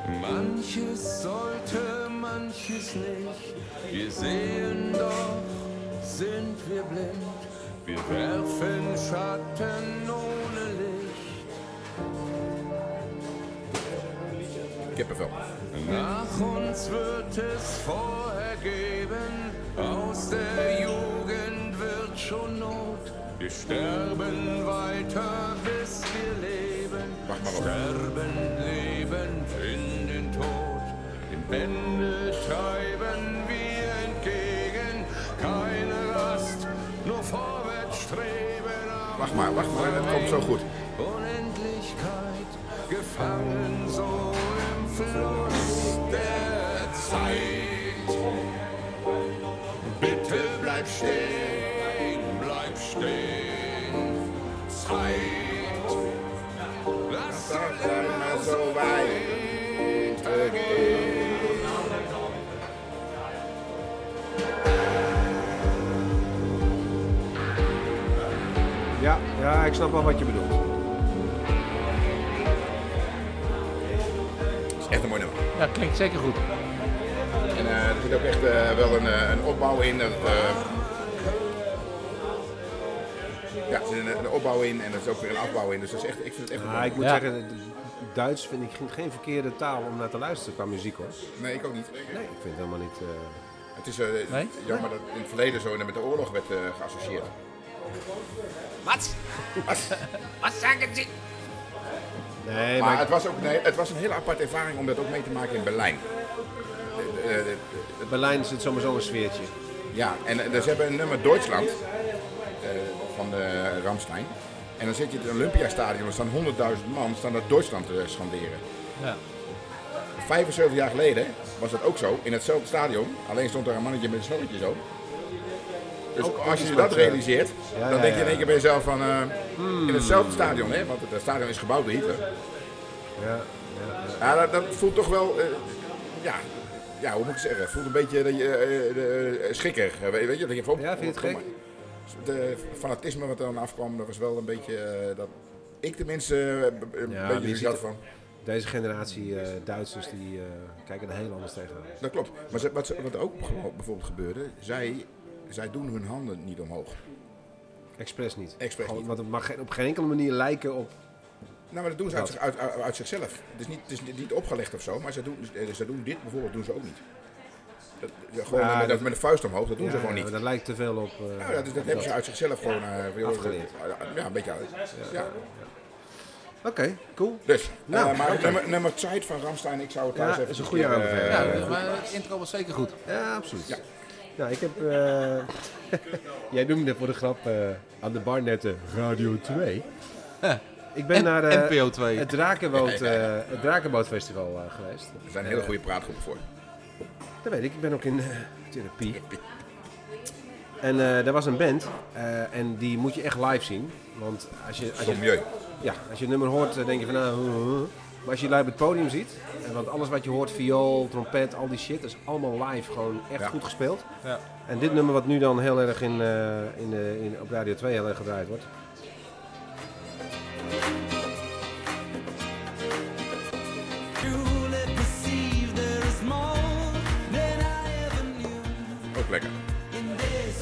[SPEAKER 2] nummer.
[SPEAKER 4] Manches sollte, manches nicht. Wir sehen doch, sind wir blind. Wir werfen Schatten ohne Licht.
[SPEAKER 2] Kippenvel.
[SPEAKER 4] Äh, Nach uns wird es vorher geben. Aus der Jugend wird schon Not. Wir sterben weiter, bis wir leben.
[SPEAKER 2] Wacht maar op.
[SPEAKER 4] Sterben lebend in den Tod, den Bände treiben wir entgegen. Keine Rast, nur vorwärts streben am
[SPEAKER 2] Wacht maar, wacht maar. Het komt zo goed.
[SPEAKER 4] Unendlichkeit, gefangen so im Fluss der Zeit. Bitte bleib stehen, bleib stehen, Zeit. Lass
[SPEAKER 2] Dat zijn we zo wijd.
[SPEAKER 1] Ja, ja, ik snap wel wat je bedoelt.
[SPEAKER 2] Dat is echt een mooi nummer.
[SPEAKER 3] Ja, klinkt zeker goed.
[SPEAKER 2] zit ook echt eh, wel een, eh, een opbouw in. Dat, eh, ja, er zit een, een opbouw in en er is ook weer een afbouw in. Dus dat is echt, ik vind het echt
[SPEAKER 1] Ah,
[SPEAKER 2] een
[SPEAKER 1] ik moet
[SPEAKER 3] Ja.
[SPEAKER 1] zeggen, d- Duits vind ik geen- geen verkeerde taal om naar te luisteren qua muziek hoor.
[SPEAKER 2] Nee, ik ook niet.
[SPEAKER 1] Nee, ik vind het helemaal niet. eh,
[SPEAKER 2] Het is eh,
[SPEAKER 3] Nee?
[SPEAKER 2] jammer dat in het verleden zo met de oorlog werd eh, geassocieerd.
[SPEAKER 5] Was?
[SPEAKER 2] Was-
[SPEAKER 5] Was sagen Sie?
[SPEAKER 1] Nee,
[SPEAKER 2] Maar
[SPEAKER 1] maar.
[SPEAKER 2] het was, ook, nee, het was een hele aparte ervaring om dat ook mee te maken in Berlijn. Eh, eh, eh,
[SPEAKER 1] Berlijn zit sowieso een sfeertje.
[SPEAKER 2] Ja, en eh, dus hebben we een nummer Duitsland eh, van de Ramstein. En dan zit je in het Olympiastadion, er staan 100.000 man staan dat Duitsland te schanderen.
[SPEAKER 3] Ja.
[SPEAKER 2] 75 jaar geleden was dat ook zo, in hetzelfde stadion. Alleen stond daar een mannetje met een snorretje zo. Dus
[SPEAKER 1] Ook- ook
[SPEAKER 2] als
[SPEAKER 1] iets
[SPEAKER 2] je
[SPEAKER 1] met,
[SPEAKER 2] dat
[SPEAKER 1] eh,
[SPEAKER 2] realiseert,
[SPEAKER 1] ja,
[SPEAKER 2] dan
[SPEAKER 1] ja,
[SPEAKER 2] denk je
[SPEAKER 1] ja. Hmm.
[SPEAKER 2] in één keer bij jezelf van... eh, In hetzelfde stadion, hè, want het eh, stadion is gebouwd door Hitler.
[SPEAKER 1] Ja, ja, ja.
[SPEAKER 2] Ja, dat, dat voelt toch wel. eh, ja, ja, hoe moet ik zeggen? Het voelt een beetje dat je, eh, eh, eh, schikker. Eh, Weet je, dat je van,
[SPEAKER 1] Ja, vind je het
[SPEAKER 2] kom
[SPEAKER 1] gek?
[SPEAKER 2] maar. De fanatisme wat er dan afkwam, dat was wel een beetje. eh, dat ik tenminste eh, b- een
[SPEAKER 1] maar je
[SPEAKER 2] beetje
[SPEAKER 1] ziet
[SPEAKER 2] zoiets had
[SPEAKER 1] het-
[SPEAKER 2] van.
[SPEAKER 1] Deze generatie eh, Duitsers die eh, kijken er heel anders tegenaan.
[SPEAKER 2] Dat klopt. Maar ze- wat, ze- wat ook gewoon bijvoorbeeld gebeurde, zij, zij doen hun handen niet omhoog.
[SPEAKER 1] Expres niet.
[SPEAKER 2] Expres
[SPEAKER 1] Gewoon,
[SPEAKER 2] niet.
[SPEAKER 1] Want het mag geen- op geen enkele manier lijken op.
[SPEAKER 2] Nou, maar dat doen ze uit,
[SPEAKER 1] Dat.
[SPEAKER 2] zich- uit, uit, uit zichzelf. Het is, niet, het is niet- niet opgelegd of zo, maar ze doen, eh, ze doen dit bijvoorbeeld doen ze ook niet. Dat, ja, gewoon
[SPEAKER 1] Ja,
[SPEAKER 2] met,
[SPEAKER 1] Nou, dat-
[SPEAKER 2] met een vuist omhoog, dat doen
[SPEAKER 1] Ja,
[SPEAKER 2] ze gewoon
[SPEAKER 1] ja,
[SPEAKER 2] niet.
[SPEAKER 1] Dat lijkt te veel op. eh,
[SPEAKER 2] Nou, ja, dus dat hebben ze uit zichzelf gewoon eh, joh,
[SPEAKER 1] Afgeleerd.
[SPEAKER 2] eh, Ja, een beetje uit. Ja.
[SPEAKER 1] Oké, cool.
[SPEAKER 2] Dus,
[SPEAKER 1] Nou,
[SPEAKER 2] eh, maar
[SPEAKER 1] oké.
[SPEAKER 2] nummer, nummer Zeit van Ramstein, ik zou het thuis
[SPEAKER 1] Ja,
[SPEAKER 2] even... Eh,
[SPEAKER 1] is een goede
[SPEAKER 2] aanbeveling.
[SPEAKER 1] aanbeveling.
[SPEAKER 3] Ja, maar het intro was zeker goed.
[SPEAKER 1] Ja, absoluut.
[SPEAKER 2] Ja.
[SPEAKER 1] Nou, ik heb. eh, Jij noemde voor de grap eh, aan de barnetten Radio 2. Ik ben
[SPEAKER 3] En-
[SPEAKER 1] naar eh,
[SPEAKER 3] NPO 2.
[SPEAKER 1] het, Drakenboot, eh, het Drakenbootfestival eh, geweest.
[SPEAKER 2] Er zijn hele goede praatgroepen voor.
[SPEAKER 1] Dat weet ik, ik ben ook in eh, therapie. En eh, daar was een band eh, en die moet je echt live zien. Want als je, als je,
[SPEAKER 2] Stom milieu.
[SPEAKER 1] ja, als je het nummer hoort, eh, denk je van nou. huh, huh. Maar als je live op het podium ziet, eh, want alles wat je hoort, viool, trompet, al die shit, dat is allemaal live gewoon echt
[SPEAKER 2] Ja.
[SPEAKER 1] goed gespeeld.
[SPEAKER 3] Ja.
[SPEAKER 1] En dit nummer wat nu dan heel erg in, eh, in, de- in, op Radio 2 heel erg gedraaid wordt.
[SPEAKER 6] truly perceive there is more than I ever knew.
[SPEAKER 2] Ook lekker.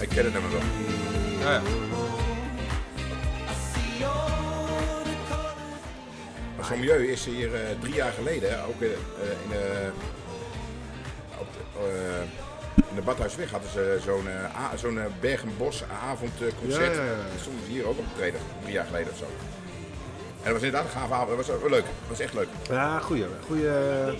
[SPEAKER 2] Ik ken het nummer wel.
[SPEAKER 6] I see all the colors.
[SPEAKER 2] Maar zo'n milieu is hier eh, drie jaar geleden hè, ook eh, eh, in de... Op de eh, in de Badhuisweg hadden ze zo'n eh, a- zo'n eh, bergen-bos-avondconcert.
[SPEAKER 1] Ja, ja, ja.
[SPEAKER 2] Dat stonden ze hier ook op optreden, drie jaar geleden of zo. En dat was inderdaad een gave avond. Dat was ook leuk. Dat was echt leuk.
[SPEAKER 1] Ja, goeie, goeie, ja,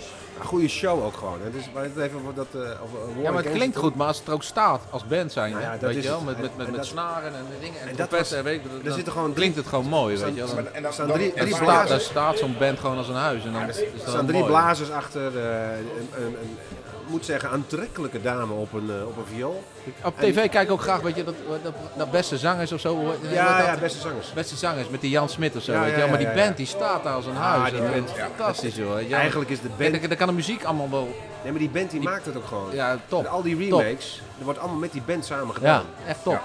[SPEAKER 1] goeie show ook gewoon. Hè. Dus, maar het even wat dat, eh, over Warren
[SPEAKER 3] Ja, maar het
[SPEAKER 1] Kane-
[SPEAKER 3] klinkt goed, maar als het er ook staat, als band zijn,
[SPEAKER 1] Nou ja,
[SPEAKER 3] hè,
[SPEAKER 1] dat
[SPEAKER 3] weet
[SPEAKER 1] is
[SPEAKER 3] je
[SPEAKER 1] het.
[SPEAKER 3] wel, met,
[SPEAKER 1] En-
[SPEAKER 3] met, met,
[SPEAKER 1] en
[SPEAKER 3] met
[SPEAKER 1] dat-
[SPEAKER 3] snaren en dingen en,
[SPEAKER 1] en dat
[SPEAKER 3] trompetten,
[SPEAKER 1] was-
[SPEAKER 3] weet ik,
[SPEAKER 1] er
[SPEAKER 3] dan
[SPEAKER 1] zitten gewoon
[SPEAKER 3] klinkt het gewoon mooi,
[SPEAKER 1] staan-
[SPEAKER 3] weet je wel.
[SPEAKER 2] Maar- en dan-
[SPEAKER 1] staan
[SPEAKER 2] dan-
[SPEAKER 1] drie-
[SPEAKER 2] en
[SPEAKER 1] drie
[SPEAKER 2] vaak-
[SPEAKER 1] blazers.
[SPEAKER 3] Daar staat zo'n band gewoon als een huis en dan is, is
[SPEAKER 1] Er
[SPEAKER 3] dat
[SPEAKER 1] staan drie
[SPEAKER 3] mooi.
[SPEAKER 1] blazers achter eh, een, een, een, ik moet zeggen, aantrekkelijke dame op een, eh, op een viool.
[SPEAKER 3] Op tv kijk ik ook graag, weet je, dat, dat, dat beste zangers of zo. hoe-
[SPEAKER 1] Ja,
[SPEAKER 3] dat-
[SPEAKER 1] ja, beste zangers.
[SPEAKER 3] Beste zangers met die Jan Smit of zo,
[SPEAKER 1] Ja,
[SPEAKER 3] weet je
[SPEAKER 1] ja,
[SPEAKER 3] wel. Maar
[SPEAKER 1] ja,
[SPEAKER 3] die
[SPEAKER 1] ja, Ah,
[SPEAKER 3] band die staat daar als een huis.
[SPEAKER 1] die
[SPEAKER 3] hè.
[SPEAKER 1] band, ja.
[SPEAKER 3] Fantastisch, joh. weet je wel.
[SPEAKER 1] Eigenlijk is de
[SPEAKER 3] Kijk,
[SPEAKER 1] band...
[SPEAKER 3] daar- daar kan de muziek allemaal wel,
[SPEAKER 1] Nee, maar die band die maakt het ook gewoon.
[SPEAKER 3] ja, top.
[SPEAKER 1] En al die
[SPEAKER 3] top.
[SPEAKER 1] remakes, er wordt allemaal met die band samen
[SPEAKER 3] Ja,
[SPEAKER 1] gedaan.
[SPEAKER 3] echt top.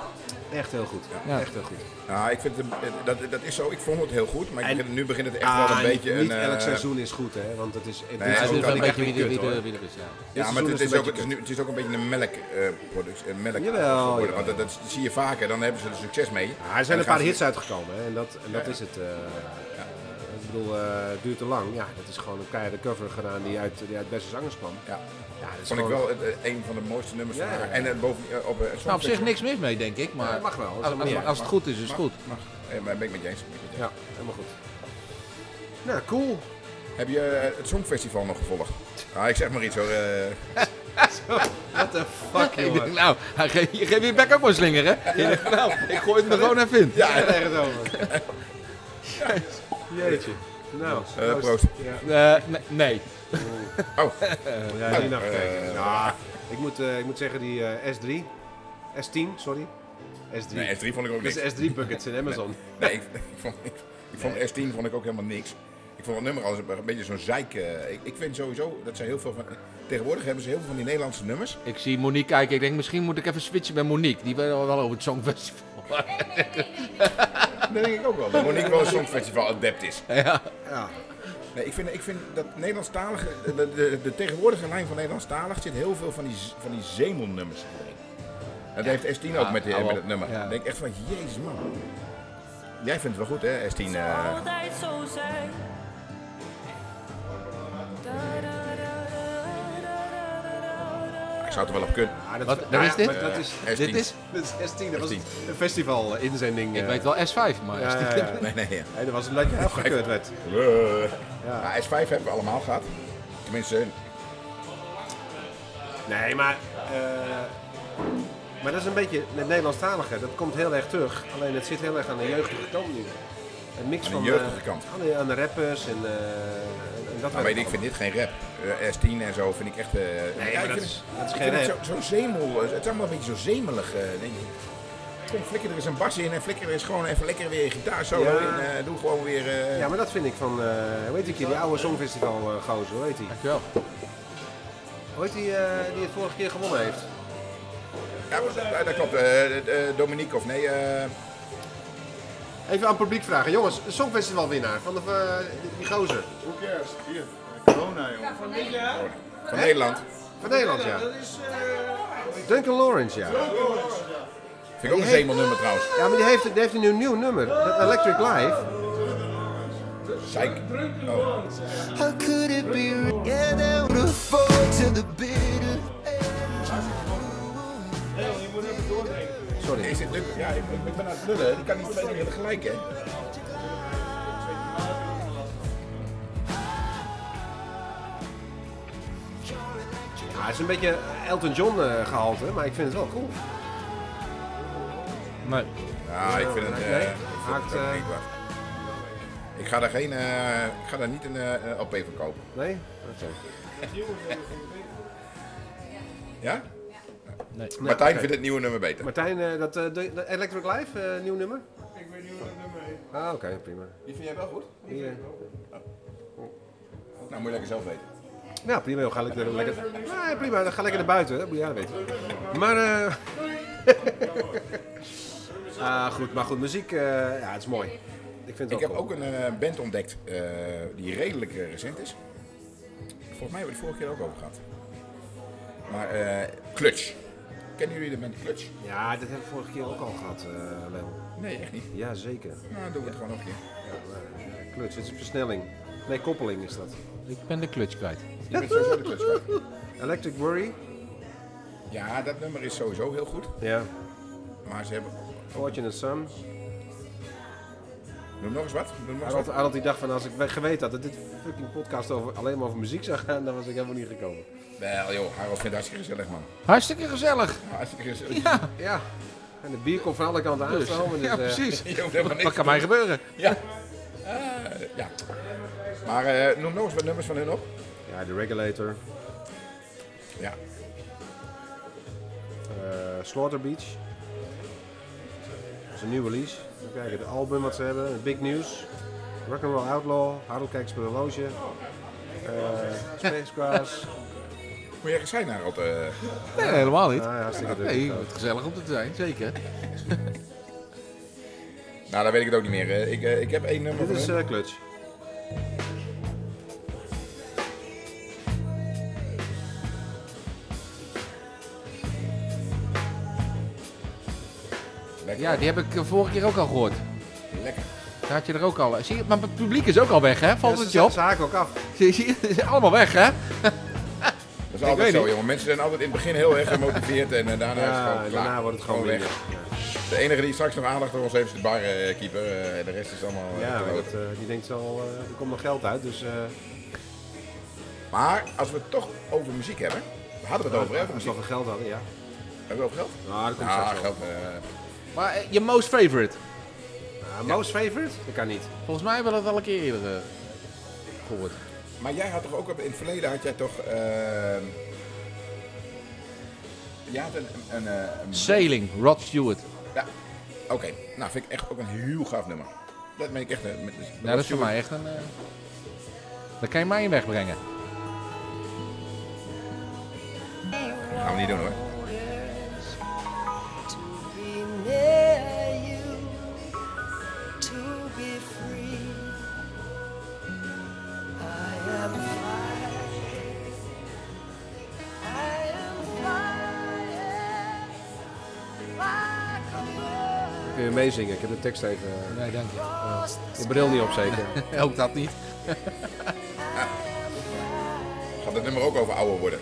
[SPEAKER 1] Echt heel goed.
[SPEAKER 3] Ja.
[SPEAKER 1] Echt heel goed.
[SPEAKER 2] Nou, ik vind het, eh, dat, dat is zo. Ik vond het heel goed, maar ik
[SPEAKER 1] En-
[SPEAKER 2] begin- nu begint het echt
[SPEAKER 1] Ah,
[SPEAKER 2] wel een beetje
[SPEAKER 1] niet, niet
[SPEAKER 2] een.
[SPEAKER 1] elk
[SPEAKER 2] eh,
[SPEAKER 1] seizoen is goed, hè? Want het is, het
[SPEAKER 2] Nee,
[SPEAKER 1] dit
[SPEAKER 2] het
[SPEAKER 3] Ja,
[SPEAKER 2] is
[SPEAKER 3] het
[SPEAKER 1] seizoen
[SPEAKER 3] is
[SPEAKER 1] kan
[SPEAKER 2] ook
[SPEAKER 3] wel
[SPEAKER 1] ik
[SPEAKER 3] een
[SPEAKER 1] echt
[SPEAKER 3] beetje
[SPEAKER 1] niet
[SPEAKER 3] wie
[SPEAKER 1] kut,
[SPEAKER 3] er- wie
[SPEAKER 1] hoor.
[SPEAKER 3] er wie er is, ja.
[SPEAKER 2] Ja, maar
[SPEAKER 1] seizoen
[SPEAKER 2] het
[SPEAKER 1] is
[SPEAKER 2] is,
[SPEAKER 1] een
[SPEAKER 2] ook, het,
[SPEAKER 1] beetje
[SPEAKER 2] is nu, het is ook een beetje een melk, eh, product, een melk
[SPEAKER 1] Jawel,
[SPEAKER 2] geworden,
[SPEAKER 1] jawel.
[SPEAKER 2] Want dat, dat zie je vaker, dan hebben ze er succes mee.
[SPEAKER 1] Ja, er
[SPEAKER 2] En dan
[SPEAKER 1] zijn een
[SPEAKER 2] gaan
[SPEAKER 1] paar
[SPEAKER 2] ze-
[SPEAKER 1] hits uitgekomen hè, en dat, en dat
[SPEAKER 2] Ja.
[SPEAKER 1] is het. eh, Ik bedoel, eh, het duurt te lang. Ja, dat is gewoon een keiharde cover gedaan die uit, die uit Beste Zangers kwam.
[SPEAKER 2] Ja,
[SPEAKER 1] Ja, dat is
[SPEAKER 2] vond ik
[SPEAKER 1] gewoon-
[SPEAKER 2] wel het, eh, een van de mooiste nummers
[SPEAKER 1] Ja,
[SPEAKER 2] van haar.
[SPEAKER 1] ja.
[SPEAKER 2] En eh, boven, eh, op, eh,
[SPEAKER 3] Nou, op zich
[SPEAKER 2] Songfestival-
[SPEAKER 3] niks mis mee, denk ik. Maar
[SPEAKER 1] Ja, mag wel, dat is
[SPEAKER 3] Als, als-
[SPEAKER 1] allemaal-
[SPEAKER 3] als het goed is, is het goed.
[SPEAKER 2] Eh, maar ben ik met je eens. ben ik met je eens.
[SPEAKER 1] Ja, helemaal goed. Nou, cool.
[SPEAKER 2] Heb je eh, het Songfestival nog gevolgd? Ah, ik zeg maar iets hoor. eh.
[SPEAKER 1] What the fuck,
[SPEAKER 3] Ik denk, nou, hij geeft, je geeft je bek ook maar slinger, hè? Je denkt, nou, ik gooi het er gewoon even in.
[SPEAKER 1] Ja, daar het over. Jeetje. Nou,
[SPEAKER 2] Eh, proost.
[SPEAKER 1] Ja,
[SPEAKER 3] Eh, nee, nee.
[SPEAKER 2] Oh,
[SPEAKER 1] ja die nacht kijken.
[SPEAKER 2] eh,
[SPEAKER 1] Nou, ik moet, eh, ik moet zeggen, die eh, S3, S10, sorry. S3.
[SPEAKER 2] nee, S3 vond ik ook
[SPEAKER 1] Dat
[SPEAKER 2] niks.
[SPEAKER 1] is S3 buckets in Amazon.
[SPEAKER 2] Nee, ik, ik vond, ik, ik vond S10 vond ik ook helemaal niks. Ik vond het nummer als een, een beetje zo'n zeik. eh, ik, ik vind sowieso dat ze heel veel van. Tegenwoordig hebben ze heel veel van die Nederlandse nummers.
[SPEAKER 3] Ik zie Monique kijken. Ik denk, misschien moet ik even switchen bij Monique. Die weet wel over het Songfestival.
[SPEAKER 2] Dat denk ik ook wel. Dat Monique wel een songfestival adept is.
[SPEAKER 1] Ja.
[SPEAKER 2] Nee, ik vind, ik vind dat Nederlandstalig, de, de, de tegenwoordige lijn van Nederlandstalig zit heel veel van die, z- van die zemelnummers erin. Dat heeft S10 ook met, die,
[SPEAKER 3] hou
[SPEAKER 2] met
[SPEAKER 3] op.
[SPEAKER 2] het nummer.
[SPEAKER 3] Ja.
[SPEAKER 2] Ik denk echt van, jezus man. Jij vindt het wel goed hè, S10. eh,
[SPEAKER 7] altijd zo zijn.
[SPEAKER 2] ik zou het er wel op kunnen. Eh,
[SPEAKER 1] Ja, dat,
[SPEAKER 3] Wat,
[SPEAKER 1] nou
[SPEAKER 3] waar
[SPEAKER 1] ja,
[SPEAKER 3] is dit?
[SPEAKER 1] maar Dat is,
[SPEAKER 2] S10.
[SPEAKER 3] Dit is,
[SPEAKER 1] dat is S10, dat was
[SPEAKER 2] S10.
[SPEAKER 1] een festival-inzending.
[SPEAKER 3] ik
[SPEAKER 1] eh.
[SPEAKER 3] weet wel S5, maar
[SPEAKER 1] Ja, ja, ja.
[SPEAKER 2] Nee, nee. Ja.
[SPEAKER 1] Nee, dat was een dat je afgekeurd werd.
[SPEAKER 2] Eh, ja, S5 hebben we allemaal gehad. Tenminste,
[SPEAKER 1] Nee, maar. eh, maar dat is een beetje het Nederlandstalige. Dat komt heel erg terug. Alleen het zit heel erg aan de jeugdige kant nu. Een mix
[SPEAKER 2] Aan de
[SPEAKER 1] van.
[SPEAKER 2] jeugdige
[SPEAKER 1] eh,
[SPEAKER 2] kant.
[SPEAKER 1] Aan de, aan de rappers en. eh, en- en dat
[SPEAKER 2] nou,
[SPEAKER 1] werkt
[SPEAKER 2] weet ik, ik vind dit geen rap. Eh, S10 en zo vind ik echt... eh,
[SPEAKER 1] maar
[SPEAKER 2] ik
[SPEAKER 1] dat
[SPEAKER 2] vind
[SPEAKER 1] is-
[SPEAKER 2] het-
[SPEAKER 1] dat is
[SPEAKER 2] ik
[SPEAKER 1] geen
[SPEAKER 2] vind het
[SPEAKER 1] rap.
[SPEAKER 2] zo- Zo'n zemel, eh, het is allemaal een beetje zo zemelig. eh, denk ik. Kom, flikker er eens een bas in en flikker er eens gewoon even lekker weer gitaar solo
[SPEAKER 1] Ja.
[SPEAKER 2] in. eh, doe gewoon weer... eh,
[SPEAKER 1] allemaal. Ja, maar dat vind ik van. eh weet ik die oude Songfestival eh gozer, hoe heet die?
[SPEAKER 3] dankjewel.
[SPEAKER 1] Hoe heet die eh, die het vorige keer gewonnen heeft?
[SPEAKER 2] Ja, maar, eh, dat klopt. Eh, eh, Dominique of nee. eh,
[SPEAKER 1] Even aan het publiek vragen. Jongens, Songfestival winnaar van de, eh, die- die gozer.
[SPEAKER 2] van Nederland.
[SPEAKER 1] Van Nederland, ja. Duncan Lawrence, ja.
[SPEAKER 2] Vind ik ook een zemelnummer trouwens.
[SPEAKER 1] Ja, maar die heeft, die heeft een nieuw, nieuw nummer. Dat Electric Live.
[SPEAKER 2] Psych. Oh.
[SPEAKER 6] How could it be? Yeah, they would afford to the bitter
[SPEAKER 1] Sorry.
[SPEAKER 2] Is dit lukt? Ja, ik, ik ben aan het lullen. Ik kan niet twee dingen tegelijk, hè.
[SPEAKER 1] Ja, het is een beetje Elton John eh, gehalte, maar ik vind het wel cool.
[SPEAKER 3] Nee.
[SPEAKER 2] Ja, ik vind het...
[SPEAKER 1] Nee,
[SPEAKER 2] eh, ik vind
[SPEAKER 1] haakt,
[SPEAKER 2] het ook
[SPEAKER 1] eh,
[SPEAKER 2] niet wat. Ik ga daar geen... eh, ik ga daar niet een eh, eh, LP van kopen.
[SPEAKER 1] Nee?
[SPEAKER 2] Ja?
[SPEAKER 1] Nee,
[SPEAKER 2] Martijn
[SPEAKER 1] oké.
[SPEAKER 2] vindt het nieuwe nummer beter.
[SPEAKER 1] Martijn, eh, dat, eh, de, de Electric Live, eh, nieuw nummer? Ik weet niet wat nummer Ah, oké, prima.
[SPEAKER 2] Die vind jij wel goed?
[SPEAKER 1] Die, eh,
[SPEAKER 2] Nou, moet je lekker zelf weten.
[SPEAKER 1] nou, prima, joh, ga lekker, lekker, nee, prima, dan ga lekker naar buiten, hè. moet jij weten. Maar, eh ah, goed, maar goed, muziek, eh, ja, het is mooi. Ik vind het
[SPEAKER 2] Ik
[SPEAKER 1] wel
[SPEAKER 2] heb
[SPEAKER 1] cool.
[SPEAKER 2] ook een eh, band ontdekt eh, die redelijk eh, recent is. Volgens mij hebben we het vorige keer ook over gehad. Maar eh Clutch. Kennen jullie de band Clutch?
[SPEAKER 1] Ja, dit hebben we vorige keer ook al gehad, eh Leon.
[SPEAKER 2] Nee, echt niet.
[SPEAKER 1] Ja, zeker.
[SPEAKER 2] Nou, doen we het gewoon nog een keer.
[SPEAKER 1] Ja, maar, eh, kluts, het is versnelling. Nee, koppeling is dat.
[SPEAKER 3] Ik ben de clutch kwijt.
[SPEAKER 2] Je bent sowieso de Clutch. kwijt.
[SPEAKER 1] Electric Worry.
[SPEAKER 2] Ja, dat nummer is sowieso heel goed.
[SPEAKER 1] Ja.
[SPEAKER 2] Maar ze hebben...
[SPEAKER 1] Fortunate Son.
[SPEAKER 2] Noem nog eens wat. Noem
[SPEAKER 1] Hij
[SPEAKER 2] nog eens
[SPEAKER 1] had,
[SPEAKER 2] wat.
[SPEAKER 1] hij had die dag van als ik we- geweten had dat dit fucking podcast over, alleen maar over muziek zou gaan, dan was ik helemaal niet gekomen.
[SPEAKER 2] Wel joh, Harold vindt het hartstikke gezellig man.
[SPEAKER 3] Hartstikke gezellig.
[SPEAKER 2] Hartstikke gezellig.
[SPEAKER 3] Ja,
[SPEAKER 1] Ja. En de bier komt van alle kanten
[SPEAKER 3] dus.
[SPEAKER 1] aangestomen. Dus,
[SPEAKER 3] ja
[SPEAKER 1] eh,
[SPEAKER 3] precies.
[SPEAKER 2] Je hoeft helemaal niks
[SPEAKER 3] Wat
[SPEAKER 2] te
[SPEAKER 3] kan mij gebeuren?
[SPEAKER 2] Ja. Eh, ja. Maar eh, noem nog eens wat nummers van hun op.
[SPEAKER 1] ja, de Regulator.
[SPEAKER 2] Ja.
[SPEAKER 1] eh, Slaughter Beach. Dat is een nieuwe release. Even kijken, het album wat ze hebben. het Big News. Rock'n'Roll Outlaw. Harold kijkt per horloge. eh, Space Grass.
[SPEAKER 2] Moet jij zijn Harold? eh
[SPEAKER 3] Nee, helemaal niet.
[SPEAKER 1] nou, ja, hartstikke druk.
[SPEAKER 3] Nee, het is gezellig om er te zijn, zeker.
[SPEAKER 2] Nou, dat weet ik het ook niet meer. Eh, Ik, eh, ik heb één
[SPEAKER 1] Dit
[SPEAKER 2] nummer van
[SPEAKER 1] is
[SPEAKER 2] hun.
[SPEAKER 1] eh Clutch.
[SPEAKER 2] Lekker.
[SPEAKER 3] Ja, die heb ik eh, vorige keer ook al gehoord.
[SPEAKER 2] Lekker.
[SPEAKER 3] Daar had je er ook al. eh, Zie je, maar het publiek is ook al weg, hè? Valt
[SPEAKER 1] Ja,
[SPEAKER 3] het
[SPEAKER 1] ze-
[SPEAKER 3] je op?
[SPEAKER 1] Ze haken ook af.
[SPEAKER 3] Zie je, ze zijn allemaal weg, hè?
[SPEAKER 2] Dat is altijd
[SPEAKER 3] weet
[SPEAKER 2] zo,
[SPEAKER 3] niet.
[SPEAKER 2] jongen. Mensen zijn altijd in het begin heel erg gemotiveerd en eh, daarna is het
[SPEAKER 1] Ja,
[SPEAKER 2] gewoon klaar.
[SPEAKER 1] daarna wordt het gewoon weer.
[SPEAKER 2] De enige die straks nog aandacht voor ons heeft is de barkeeper. en de rest is allemaal... eh,
[SPEAKER 1] Ja,
[SPEAKER 2] te
[SPEAKER 1] want
[SPEAKER 2] rood.
[SPEAKER 1] eh, die denkt al, er komt nog geld uit, dus... eh,
[SPEAKER 2] Maar als we het toch over muziek hebben. We hadden we het over, hè? Over
[SPEAKER 1] als
[SPEAKER 2] muziek.
[SPEAKER 1] we nog geld hadden, ja.
[SPEAKER 2] Hebben we over geld?
[SPEAKER 1] Nou, dat komt
[SPEAKER 2] Ja,
[SPEAKER 1] straks wel.
[SPEAKER 2] geld. eh,
[SPEAKER 3] Maar eh, je most favorite?
[SPEAKER 1] Ah, most favorite? Dat kan niet.
[SPEAKER 3] Volgens mij hebben we dat al een keer eerder eh, gehoord.
[SPEAKER 2] Maar jij had toch ook op- in het verleden had jij toch. ehm je had een. een, eh, een-
[SPEAKER 3] Sailing, Rod Stewart.
[SPEAKER 2] ja. Oké, nou vind ik echt ook een heel gaaf nummer. Dat meen ik echt. eh, Met, met-
[SPEAKER 3] Nou, dat is voor mij echt een... eh, Dat kan je mij in wegbrengen.
[SPEAKER 2] Gaan we niet doen hoor.
[SPEAKER 6] be near you, to be free. I
[SPEAKER 1] kun je meezingen. Ik heb de tekst even... eh,
[SPEAKER 3] Nee, dank je.
[SPEAKER 1] Je bril niet op zeker.
[SPEAKER 3] Ook dat niet.
[SPEAKER 2] Gaat het nummer ook over ouder worden?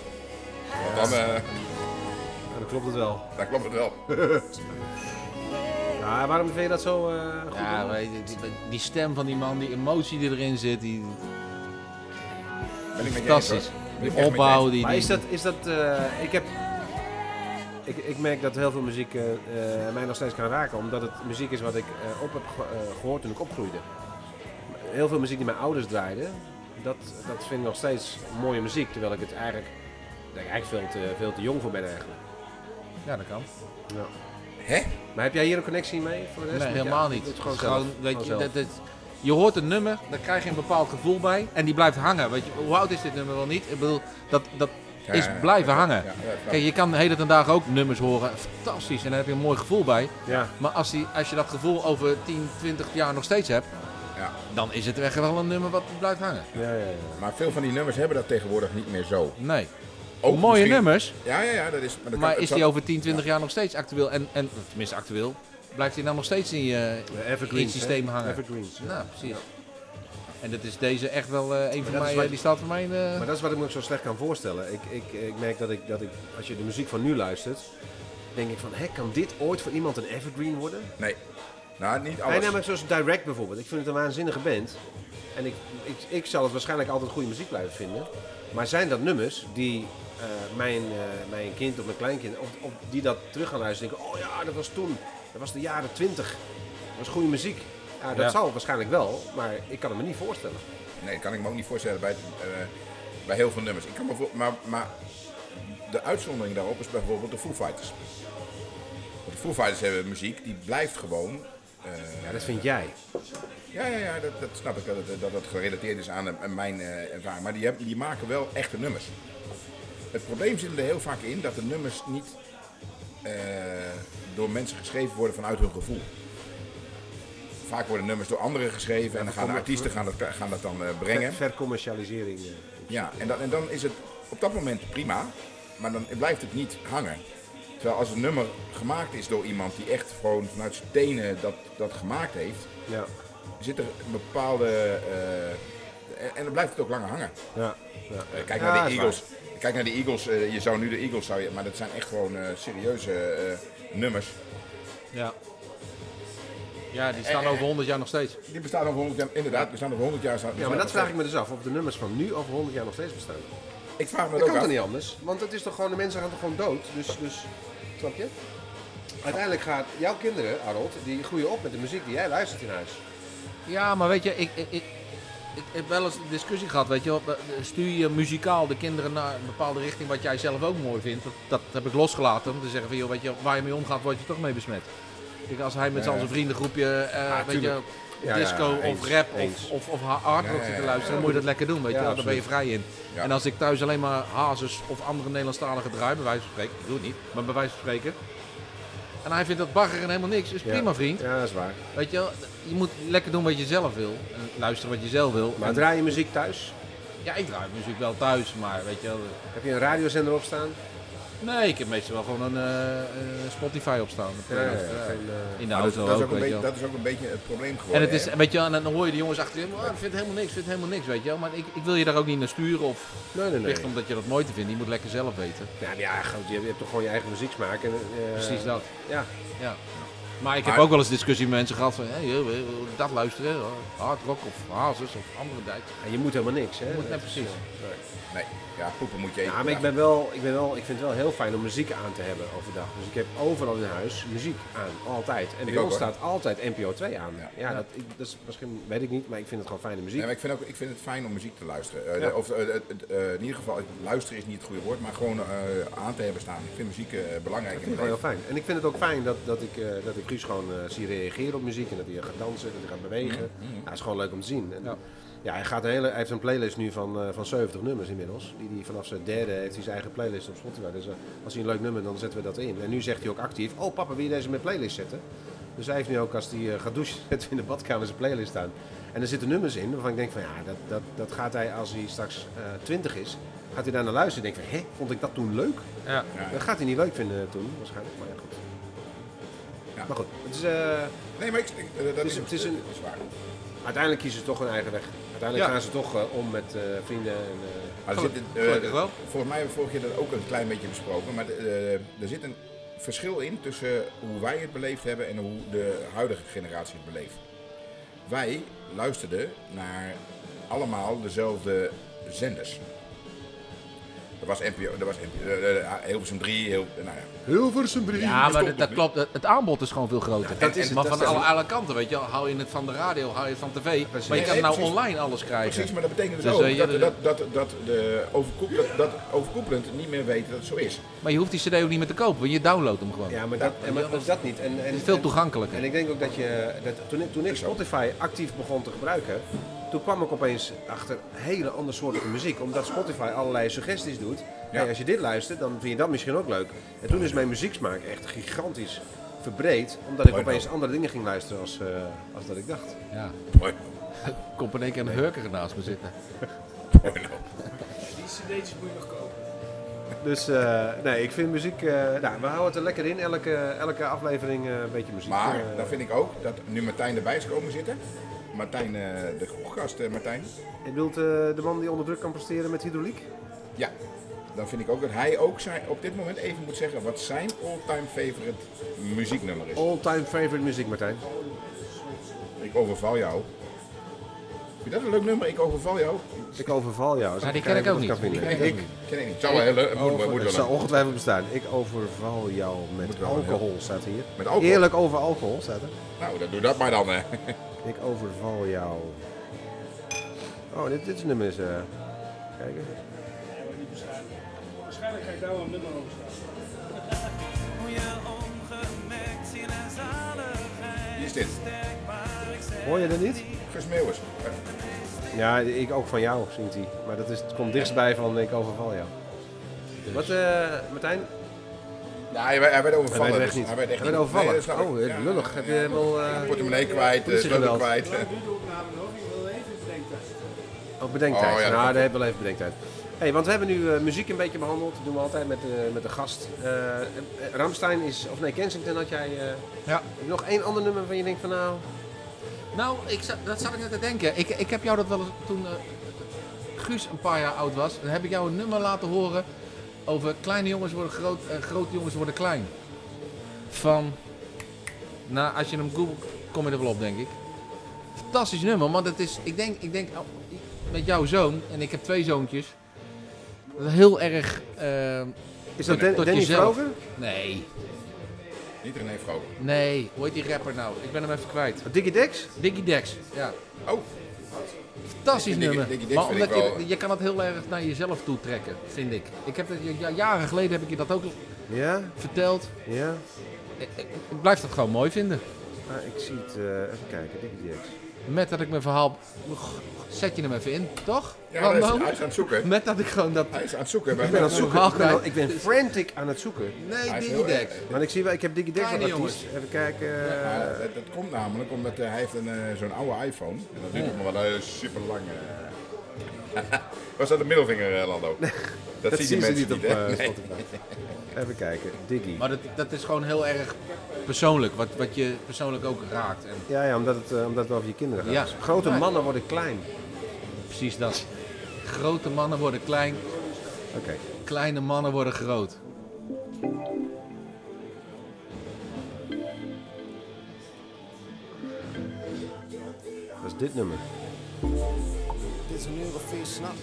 [SPEAKER 2] Want dan, eh,
[SPEAKER 1] Ja, dan klopt het wel.
[SPEAKER 2] dan klopt het wel.
[SPEAKER 1] Ja, waarom vind je dat zo eh, goed?
[SPEAKER 3] Ja, weet je, die, die stem van die man, die emotie die erin zit, die,
[SPEAKER 2] Ben ik met je eens,
[SPEAKER 3] fantastisch.
[SPEAKER 2] hoor. Ben ik echt
[SPEAKER 3] Die
[SPEAKER 2] met je
[SPEAKER 3] opbouw,
[SPEAKER 2] eens.
[SPEAKER 3] die...
[SPEAKER 1] maar is
[SPEAKER 3] die-
[SPEAKER 1] dat... Is dat eh, ik heb... Ik, ik merk dat heel veel muziek eh, eh, mij nog steeds kan raken, omdat het muziek is wat ik eh, op heb ge- eh, gehoord toen ik opgroeide. Heel veel muziek die mijn ouders draaiden, dat, dat vind ik nog steeds mooie muziek, terwijl ik het eigenlijk, dat ik eigenlijk veel te, veel te jong voor ben eigenlijk.
[SPEAKER 3] Ja, dat kan.
[SPEAKER 1] Ja.
[SPEAKER 2] Hè?
[SPEAKER 1] Maar heb jij hier een connectie mee voor de rest?
[SPEAKER 3] Nee,
[SPEAKER 1] Met- ja,
[SPEAKER 3] helemaal niet.
[SPEAKER 1] het is
[SPEAKER 3] Het
[SPEAKER 1] gewoon
[SPEAKER 3] is
[SPEAKER 1] zelf.
[SPEAKER 3] gewoon, weet je,
[SPEAKER 1] Gewoon zelf.
[SPEAKER 3] dat, dat- je hoort een nummer, daar krijg je een bepaald gevoel bij en die blijft hangen. Weet je, hoe oud is dit nummer wel niet? Ik bedoel, dat, dat
[SPEAKER 2] Ja,
[SPEAKER 3] is
[SPEAKER 2] ja, ja.
[SPEAKER 3] blijven
[SPEAKER 2] Ja,
[SPEAKER 3] hangen.
[SPEAKER 2] ja, ja, ja.
[SPEAKER 3] Kijk, je kan de hele ten dagen ook nummers horen, fantastisch, en daar heb je een mooi gevoel bij.
[SPEAKER 1] Ja.
[SPEAKER 3] Maar als, die, als je dat gevoel over 10, 20 jaar nog steeds hebt,
[SPEAKER 2] Ja.
[SPEAKER 3] dan is het echt wel een nummer wat blijft hangen.
[SPEAKER 1] Ja, ja, ja.
[SPEAKER 2] Maar veel van die nummers hebben dat tegenwoordig niet meer zo.
[SPEAKER 3] Nee.
[SPEAKER 2] Ook
[SPEAKER 3] Mooie
[SPEAKER 2] misschien-
[SPEAKER 3] nummers,
[SPEAKER 2] Ja, ja, ja. Dat is, maar dat
[SPEAKER 3] maar
[SPEAKER 2] kan-
[SPEAKER 3] is
[SPEAKER 2] dat
[SPEAKER 3] die
[SPEAKER 2] zal-
[SPEAKER 3] over 10, 20 jaar nog steeds actueel? En, en tenminste actueel, blijft die dan nog steeds in je,
[SPEAKER 1] De
[SPEAKER 3] in het
[SPEAKER 1] Evergreens.
[SPEAKER 3] systeem
[SPEAKER 1] hè?
[SPEAKER 3] hangen?
[SPEAKER 1] Evergreens. ja.
[SPEAKER 3] Nou, precies. En dat is deze echt wel eh, een van
[SPEAKER 1] dat
[SPEAKER 3] mij,
[SPEAKER 1] is
[SPEAKER 3] eh,
[SPEAKER 1] wat-
[SPEAKER 3] die staat voor mij in de-
[SPEAKER 1] Maar dat is wat ik me ook zo slecht kan voorstellen. Ik, ik, ik merk dat ik, dat ik, als je de muziek van nu luistert, denk ik van, hè, kan dit ooit voor iemand een evergreen worden?
[SPEAKER 2] Nee. Nou, niet
[SPEAKER 1] Hij
[SPEAKER 2] alles.
[SPEAKER 1] namelijk zoals Direct bijvoorbeeld. Ik vind het een waanzinnige band. En ik, ik, ik zal het waarschijnlijk altijd goede muziek blijven vinden. Maar zijn dat nummers die eh, mijn, eh, mijn kind of mijn kleinkind, of, of die dat terug gaan luisteren, denken, oh ja, dat was toen, dat was de jaren twintig, dat was goede muziek. Ja, dat
[SPEAKER 3] Ja.
[SPEAKER 1] zal waarschijnlijk wel, maar ik kan het me niet voorstellen.
[SPEAKER 2] Nee, kan ik me ook niet voorstellen bij, eh, bij heel veel nummers. Ik kan me voor- maar, maar de uitzondering daarop is bijvoorbeeld de Foo Fighters. Want de Foo Fighters hebben muziek die blijft gewoon. eh,
[SPEAKER 1] Ja, dat vind jij.
[SPEAKER 2] ja, ja, ja, dat, dat snap ik dat het, dat het gerelateerd is aan, eh, aan mijn eh, ervaring. Maar die, hebben, die maken wel echte nummers. Het probleem zit er heel vaak in dat de nummers niet eh, door mensen geschreven worden vanuit hun gevoel. Vaak worden nummers door anderen geschreven en dan gaan de artiesten gaan dat, gaan dat dan eh, brengen.
[SPEAKER 1] Ver, vercommercialisering. eh.
[SPEAKER 2] Ja, en dan, en dan is het op dat moment prima, maar dan blijft het niet hangen. Terwijl als een nummer gemaakt is door iemand die echt gewoon vanuit zijn tenen dat, dat gemaakt heeft,
[SPEAKER 1] Ja,
[SPEAKER 2] zit er een bepaalde. eh, en, en dan blijft het ook langer hangen.
[SPEAKER 1] ja, ja.
[SPEAKER 2] Eh, kijk,
[SPEAKER 1] Ja,
[SPEAKER 2] naar
[SPEAKER 1] is
[SPEAKER 2] de
[SPEAKER 1] waar.
[SPEAKER 2] Eagles, kijk naar de Eagles. eh, je zou nu de Eagles zou je, maar dat zijn echt gewoon eh, serieuze eh, nummers.
[SPEAKER 3] Ja. Ja, die
[SPEAKER 1] Eh,
[SPEAKER 3] staan over 100 jaar nog steeds.
[SPEAKER 2] Die bestaan over 100 jaar. Inderdaad, bestaan over 100 jaar.
[SPEAKER 1] Ja, maar dat vraag ik me dus af. Of de nummers van nu over 100 jaar nog steeds bestaan.
[SPEAKER 2] Ik vraag me
[SPEAKER 1] Dat
[SPEAKER 2] dat
[SPEAKER 1] kan
[SPEAKER 2] ook af.
[SPEAKER 1] toch niet anders? Want het is toch gewoon, de mensen gaan toch gewoon dood? Dus, dus snap je? Uiteindelijk gaat jouw kinderen, Harold, die groeien op met de muziek die jij luistert in huis.
[SPEAKER 3] Ja, maar weet je, ik, ik, ik, ik heb wel eens een discussie gehad, weet je wel. Eh, Stuur je muzikaal de kinderen naar een bepaalde richting wat jij zelf ook mooi vindt. Dat, dat heb ik losgelaten om te zeggen van, joh, weet je, waar je mee omgaat, word je toch mee besmet. Kijk, als hij met zijn zijn vriendengroepje, eh weet je,
[SPEAKER 2] tuurlijk.
[SPEAKER 1] Ah, Ja,
[SPEAKER 3] disco
[SPEAKER 1] ja,
[SPEAKER 3] of
[SPEAKER 1] eens,
[SPEAKER 3] rap
[SPEAKER 1] eens.
[SPEAKER 3] of, of, of hard rock zit te luisteren, dan moet je dat lekker doen, weet je
[SPEAKER 1] Ja,
[SPEAKER 3] wel. Daar ben je vrij in.
[SPEAKER 2] Ja.
[SPEAKER 3] En als ik thuis alleen maar hazes of andere Nederlandstalige draai, bij wijze van spreken, ik doe het niet, maar bij wijze van spreken. En hij vindt dat baggeren helemaal niks, is prima vriend.
[SPEAKER 1] Ja, dat is waar.
[SPEAKER 3] Weet je, wel, je moet lekker doen wat je zelf wil. En luisteren wat je zelf wil.
[SPEAKER 1] Maar
[SPEAKER 3] En-
[SPEAKER 1] draai je muziek thuis?
[SPEAKER 3] ja, ik draai muziek wel thuis, maar weet je wel.
[SPEAKER 1] Heb je een radiozender op staan?
[SPEAKER 3] Nee, ik heb meestal wel gewoon een eh, eh, Spotify opstaan.
[SPEAKER 1] Geen, eh,
[SPEAKER 3] In de
[SPEAKER 2] Maar dat,
[SPEAKER 3] auto
[SPEAKER 2] dat, is ook
[SPEAKER 3] ook,
[SPEAKER 2] een
[SPEAKER 3] weet je
[SPEAKER 2] beetje,
[SPEAKER 3] wel.
[SPEAKER 2] dat is ook een beetje het probleem geworden.
[SPEAKER 3] En het is,
[SPEAKER 2] hè.
[SPEAKER 3] weet je wel, en dan hoor je de jongens achterin, oh, ik vind helemaal niks, ik vind helemaal niks, weet je wel. Maar ik, ik wil je daar ook niet naar sturen of
[SPEAKER 1] Nee, nee, nee.
[SPEAKER 3] plicht omdat je dat mooi te vindt. Je moet lekker zelf weten.
[SPEAKER 1] Ja, maar ja, goed, je hebt, je hebt toch gewoon je eigen muzieksmaak. En, eh,
[SPEAKER 3] Precies dat.
[SPEAKER 1] Ja.
[SPEAKER 3] Ja. Maar ik
[SPEAKER 2] Maar-
[SPEAKER 3] heb ook wel eens discussie met mensen gehad van, hey, joh, eh, dat luisteren, eh, hard rock of hazes of andere dijk.
[SPEAKER 1] En je moet helemaal niks, hè?
[SPEAKER 3] Moet-
[SPEAKER 1] Dat
[SPEAKER 3] nee,
[SPEAKER 1] is,
[SPEAKER 3] precies.
[SPEAKER 1] eh, nee.
[SPEAKER 2] Nee, ja, poepen moet je
[SPEAKER 1] Ja,
[SPEAKER 2] eten.
[SPEAKER 1] maar ik, ben wel, ik, ben wel, ik vind het wel heel fijn om muziek aan te hebben overdag. Dus ik heb overal in huis muziek aan, altijd. En bij
[SPEAKER 2] ook,
[SPEAKER 1] ons
[SPEAKER 2] hoor.
[SPEAKER 1] staat altijd NPO 2 aan. Ja,
[SPEAKER 2] Ja.
[SPEAKER 1] dat, ik, dat is misschien, weet ik niet, maar ik vind het gewoon fijne muziek.
[SPEAKER 2] Nee, maar ik vind, ook, ik vind het fijn om muziek te luisteren. Eh,
[SPEAKER 1] Ja.
[SPEAKER 2] of, eh, eh, eh, in ieder geval, luisteren is niet het goede woord, maar gewoon eh, aan te hebben staan. Ik vind muziek eh, belangrijk.
[SPEAKER 1] ik vind het gewoon heel fijn. En ik vind het ook fijn dat, dat ik, eh, dat ik Guus gewoon eh, zie reageren op muziek en dat hij gaat dansen, dat hij gaat bewegen. Ja, dat is gewoon leuk om te zien. En, ja. hij, gaat een hele, hij heeft een playlist nu van, eh, van 70 nummers inmiddels. Die, die vanaf zijn derde heeft hij zijn eigen playlist op Spotify. Dus eh, als hij een leuk nummer, dan zetten we dat in. En nu zegt hij ook actief, oh papa, wil je deze in mijn playlist zetten? Dus hij heeft nu ook, als hij eh, gaat douchen, zet hij in de badkamer zijn playlist aan. En er zitten nummers in waarvan ik denk van, ja, dat, dat, dat gaat hij als hij straks eh 20 is, gaat hij daar naar luisteren. En denk van, hé, vond ik dat toen leuk?
[SPEAKER 3] Ja.
[SPEAKER 1] Dat gaat hij niet leuk vinden toen, waarschijnlijk. Maar ja, goed.
[SPEAKER 2] Ja,
[SPEAKER 1] Maar goed, het is, eh,
[SPEAKER 2] Nee, maar ik, ik- eh, dat
[SPEAKER 1] is-
[SPEAKER 2] is,
[SPEAKER 1] het is een-
[SPEAKER 2] dat is waar.
[SPEAKER 1] uiteindelijk kiezen ze toch hun eigen weg. Uiteindelijk
[SPEAKER 3] Ja.
[SPEAKER 1] gaan ze toch eh, om met eh, vrienden. En, eh,
[SPEAKER 2] Maar er zit een, eh,
[SPEAKER 3] gelukkig wel.
[SPEAKER 2] Volgens mij hebben we vorige keer dat ook een klein beetje besproken. Maar eh, er zit een verschil in tussen hoe wij het beleefd hebben en hoe de huidige generatie het beleeft. Wij luisterden naar allemaal dezelfde zenders. Er was NPO, er was NPO, eh, eh, Hilversum 3, heel, nou ja.
[SPEAKER 1] Hilversum 3.
[SPEAKER 3] Ja, maar dat,
[SPEAKER 2] toch
[SPEAKER 3] dat klopt. Het- Het aanbod is gewoon veel groter.
[SPEAKER 1] dat is
[SPEAKER 3] En-
[SPEAKER 1] het,
[SPEAKER 3] maar
[SPEAKER 1] dat
[SPEAKER 3] van
[SPEAKER 1] is
[SPEAKER 3] alle,
[SPEAKER 1] het.
[SPEAKER 3] alle kanten, weet je wel. Hou je het van de radio, hou je het van tv. Maar je
[SPEAKER 2] Nee,
[SPEAKER 3] kan nou
[SPEAKER 2] precies.
[SPEAKER 3] online alles krijgen.
[SPEAKER 2] Precies, maar dat betekent dus,
[SPEAKER 3] Dus, eh,
[SPEAKER 2] ook
[SPEAKER 3] ja,
[SPEAKER 2] dat, dat, dat, dat, de overkoep, dat, dat overkoepelend niet meer weten dat het zo is.
[SPEAKER 3] Maar je hoeft die cd ook niet meer te kopen, want je downloadt hem gewoon.
[SPEAKER 1] Ja, maar dat, en, maar dat niet. En, en,
[SPEAKER 3] Het is veel
[SPEAKER 1] en-
[SPEAKER 3] toegankelijker.
[SPEAKER 1] En ik denk ook dat je, dat toen, ik- toen ik Spotify actief begon te gebruiken, toen kwam ik opeens achter hele andere soorten muziek. Omdat Spotify allerlei suggesties doet. Hey, als je dit luistert, dan vind je dat misschien ook leuk. En toen is mijn muzieksmaak echt gigantisch verbreed. Omdat ik
[SPEAKER 2] Mooi
[SPEAKER 1] opeens andere dingen ging luisteren als, eh, als dat ik dacht.
[SPEAKER 3] Ja.
[SPEAKER 2] Mooi,
[SPEAKER 3] Komt in één keer een hurker naast me zitten.
[SPEAKER 2] mooi nou.
[SPEAKER 7] Die cd'tjes moet je nog kopen.
[SPEAKER 1] Dus eh, nee, ik vind muziek... eh, nou, we houden het er lekker in. Elke, elke aflevering eh, een beetje muziek.
[SPEAKER 2] Maar
[SPEAKER 1] Eh,
[SPEAKER 2] dan vind ik ook dat nu Martijn erbij is komen zitten. Martijn, eh, de gast eh, Martijn.
[SPEAKER 1] Je bedoelt eh, de man die onder druk kan presteren met hydrauliek?
[SPEAKER 2] Ja, dan vind ik ook dat hij ook zijn, op dit moment even moet zeggen wat zijn all-time favorite muzieknummer is.
[SPEAKER 1] All-time favorite muziek, Martijn.
[SPEAKER 2] Ik overval jou. Vind je dat een leuk nummer? Ik overval jou.
[SPEAKER 1] Ik overval jou.
[SPEAKER 3] Maar Nou, die ken ik ook niet. Die ken
[SPEAKER 1] Het
[SPEAKER 3] ik Oh, ook
[SPEAKER 2] Ik
[SPEAKER 3] niet.
[SPEAKER 2] ken het niet. Zou wel heel leuk. Moet, moet, moet wel
[SPEAKER 1] zou
[SPEAKER 2] leuk.
[SPEAKER 1] ongetwijfeld bestaan. Ik overval jou met
[SPEAKER 2] wel een
[SPEAKER 1] alcohol, staat hier.
[SPEAKER 2] Met alcohol?
[SPEAKER 1] Eerlijk over alcohol, staat er.
[SPEAKER 2] Nou, dan doe dat maar dan. hè.
[SPEAKER 1] Ik overval jou. Oh, dit, dit nummer is... eh kijk eens.
[SPEAKER 7] Waarschijnlijk ga ik daar wel een nummer over staan.
[SPEAKER 6] Hoe je ongemerkt zien en zaligheid
[SPEAKER 2] Wie is dit?
[SPEAKER 6] waar ik zeg.
[SPEAKER 1] Hoor je dat niet?
[SPEAKER 2] Gus Meeuwis. Eh,
[SPEAKER 1] Ja, ik ook van jou, zingt hij. Maar dat is, het komt dichtstbij van ik overval jou. Wat, eh Martijn?
[SPEAKER 2] Nou, hij werd, hij werd overvallen.
[SPEAKER 1] Hij werd echt
[SPEAKER 2] dus
[SPEAKER 1] niet.
[SPEAKER 2] Hij werd echt
[SPEAKER 1] Hij werd overvallen.
[SPEAKER 2] Nee, dat snap ik.
[SPEAKER 1] Oh, eh, lullig. Heb je wel, eh,
[SPEAKER 2] Portemonnee kwijt, eh,
[SPEAKER 1] politiegeweld.
[SPEAKER 2] spullen kwijt.
[SPEAKER 7] Lang duurt de opname nog, ik wil even bedenken.
[SPEAKER 1] Oh, bedenktijd.
[SPEAKER 2] Oh, ja,
[SPEAKER 1] nou,
[SPEAKER 2] dat-
[SPEAKER 1] daar hebben we wel even bedenktijd. hey, want we hebben nu eh, muziek een beetje behandeld. Dat doen we altijd met, eh, met de gast. Eh, eh, Ramstein is, of nee, Kensington had jij... eh,
[SPEAKER 3] Ja.
[SPEAKER 1] heb je nog één ander nummer van je denkt van nou...
[SPEAKER 3] Nou, ik zat, dat zat ik net te denken. Ik, ik heb jou dat wel eens toen eh, Guus een paar jaar oud was. Dan heb ik jou een nummer laten horen over kleine jongens worden groot en grote jongens worden klein. Van, nou als je hem googelt kom je er wel op denk ik. Fantastisch nummer, want het is, ik denk, ik denk oh, met jouw zoon, en ik heb twee zoontjes, dat heel erg, eh,
[SPEAKER 1] Is dat
[SPEAKER 3] Nee,
[SPEAKER 1] Den-
[SPEAKER 3] tot
[SPEAKER 1] Danny
[SPEAKER 3] jezelf.
[SPEAKER 1] Vroger?
[SPEAKER 3] nee,
[SPEAKER 2] Niet René Vroger.
[SPEAKER 3] nee, hoe heet die rapper nou? Ik ben hem even kwijt.
[SPEAKER 1] Dickie Dex?
[SPEAKER 3] Diggy Dex, ja.
[SPEAKER 2] Oh,
[SPEAKER 3] Fantastisch
[SPEAKER 2] Ik vind
[SPEAKER 3] nummer.
[SPEAKER 2] Diggy- Diggy Dex
[SPEAKER 3] maar
[SPEAKER 2] vind ik
[SPEAKER 3] omdat je,
[SPEAKER 2] wel-
[SPEAKER 3] je kan het heel erg naar jezelf toe trekken, vind ik. ik heb dat, ja, jaren geleden heb ik je dat ook
[SPEAKER 1] Ja,
[SPEAKER 3] verteld.
[SPEAKER 1] ja.
[SPEAKER 3] Ik, ik- ik blijf dat gewoon mooi vinden.
[SPEAKER 1] Ah, ik zie het. eh, even kijken, Dickie Dex.
[SPEAKER 3] Met dat ik mijn verhaal... Goh, Zet je hem even in, toch?
[SPEAKER 2] ja, hij, is,
[SPEAKER 3] Rambo?
[SPEAKER 2] hij is aan het zoeken.
[SPEAKER 3] Met dat ik gewoon dat...
[SPEAKER 2] Hij is aan het zoeken.
[SPEAKER 1] Ik ben aan het zoeken. Ik ben,
[SPEAKER 3] Wacht,
[SPEAKER 1] al- ik ben frantic aan het zoeken.
[SPEAKER 3] Nee,
[SPEAKER 2] Hij is
[SPEAKER 3] Diggy
[SPEAKER 2] heel
[SPEAKER 3] Dex.
[SPEAKER 2] erg.
[SPEAKER 1] Want ik zie wel, ik heb Dickie Dex als
[SPEAKER 3] Kleine
[SPEAKER 1] artiest. Even kijken. eh,
[SPEAKER 2] Ja, dat, dat komt namelijk omdat eh, hij heeft een, eh, zo'n oude iPhone. En dat duurt nog wel eh, super lang. eh. Was dat de middelvinger, eh, Lando? Dat,
[SPEAKER 1] dat
[SPEAKER 2] zien
[SPEAKER 1] zien
[SPEAKER 2] de
[SPEAKER 1] ze
[SPEAKER 2] mensen
[SPEAKER 1] niet op
[SPEAKER 2] hè?
[SPEAKER 1] eh,
[SPEAKER 2] Nee.
[SPEAKER 1] Spotify. Even kijken, Diggy.
[SPEAKER 3] Maar dat, dat is gewoon heel erg persoonlijk. Wat, wat je persoonlijk ook raakt. En
[SPEAKER 1] Ja, ja omdat, het, eh, omdat het over je kinderen gaat.
[SPEAKER 3] Ja.
[SPEAKER 1] Grote
[SPEAKER 3] Ja.
[SPEAKER 1] mannen worden klein.
[SPEAKER 3] precies dat. Grote mannen worden klein.
[SPEAKER 1] Oké.
[SPEAKER 3] Kleine mannen worden groot.
[SPEAKER 1] Dat is dit nummer.
[SPEAKER 8] Het is een uur of vier s'nachts.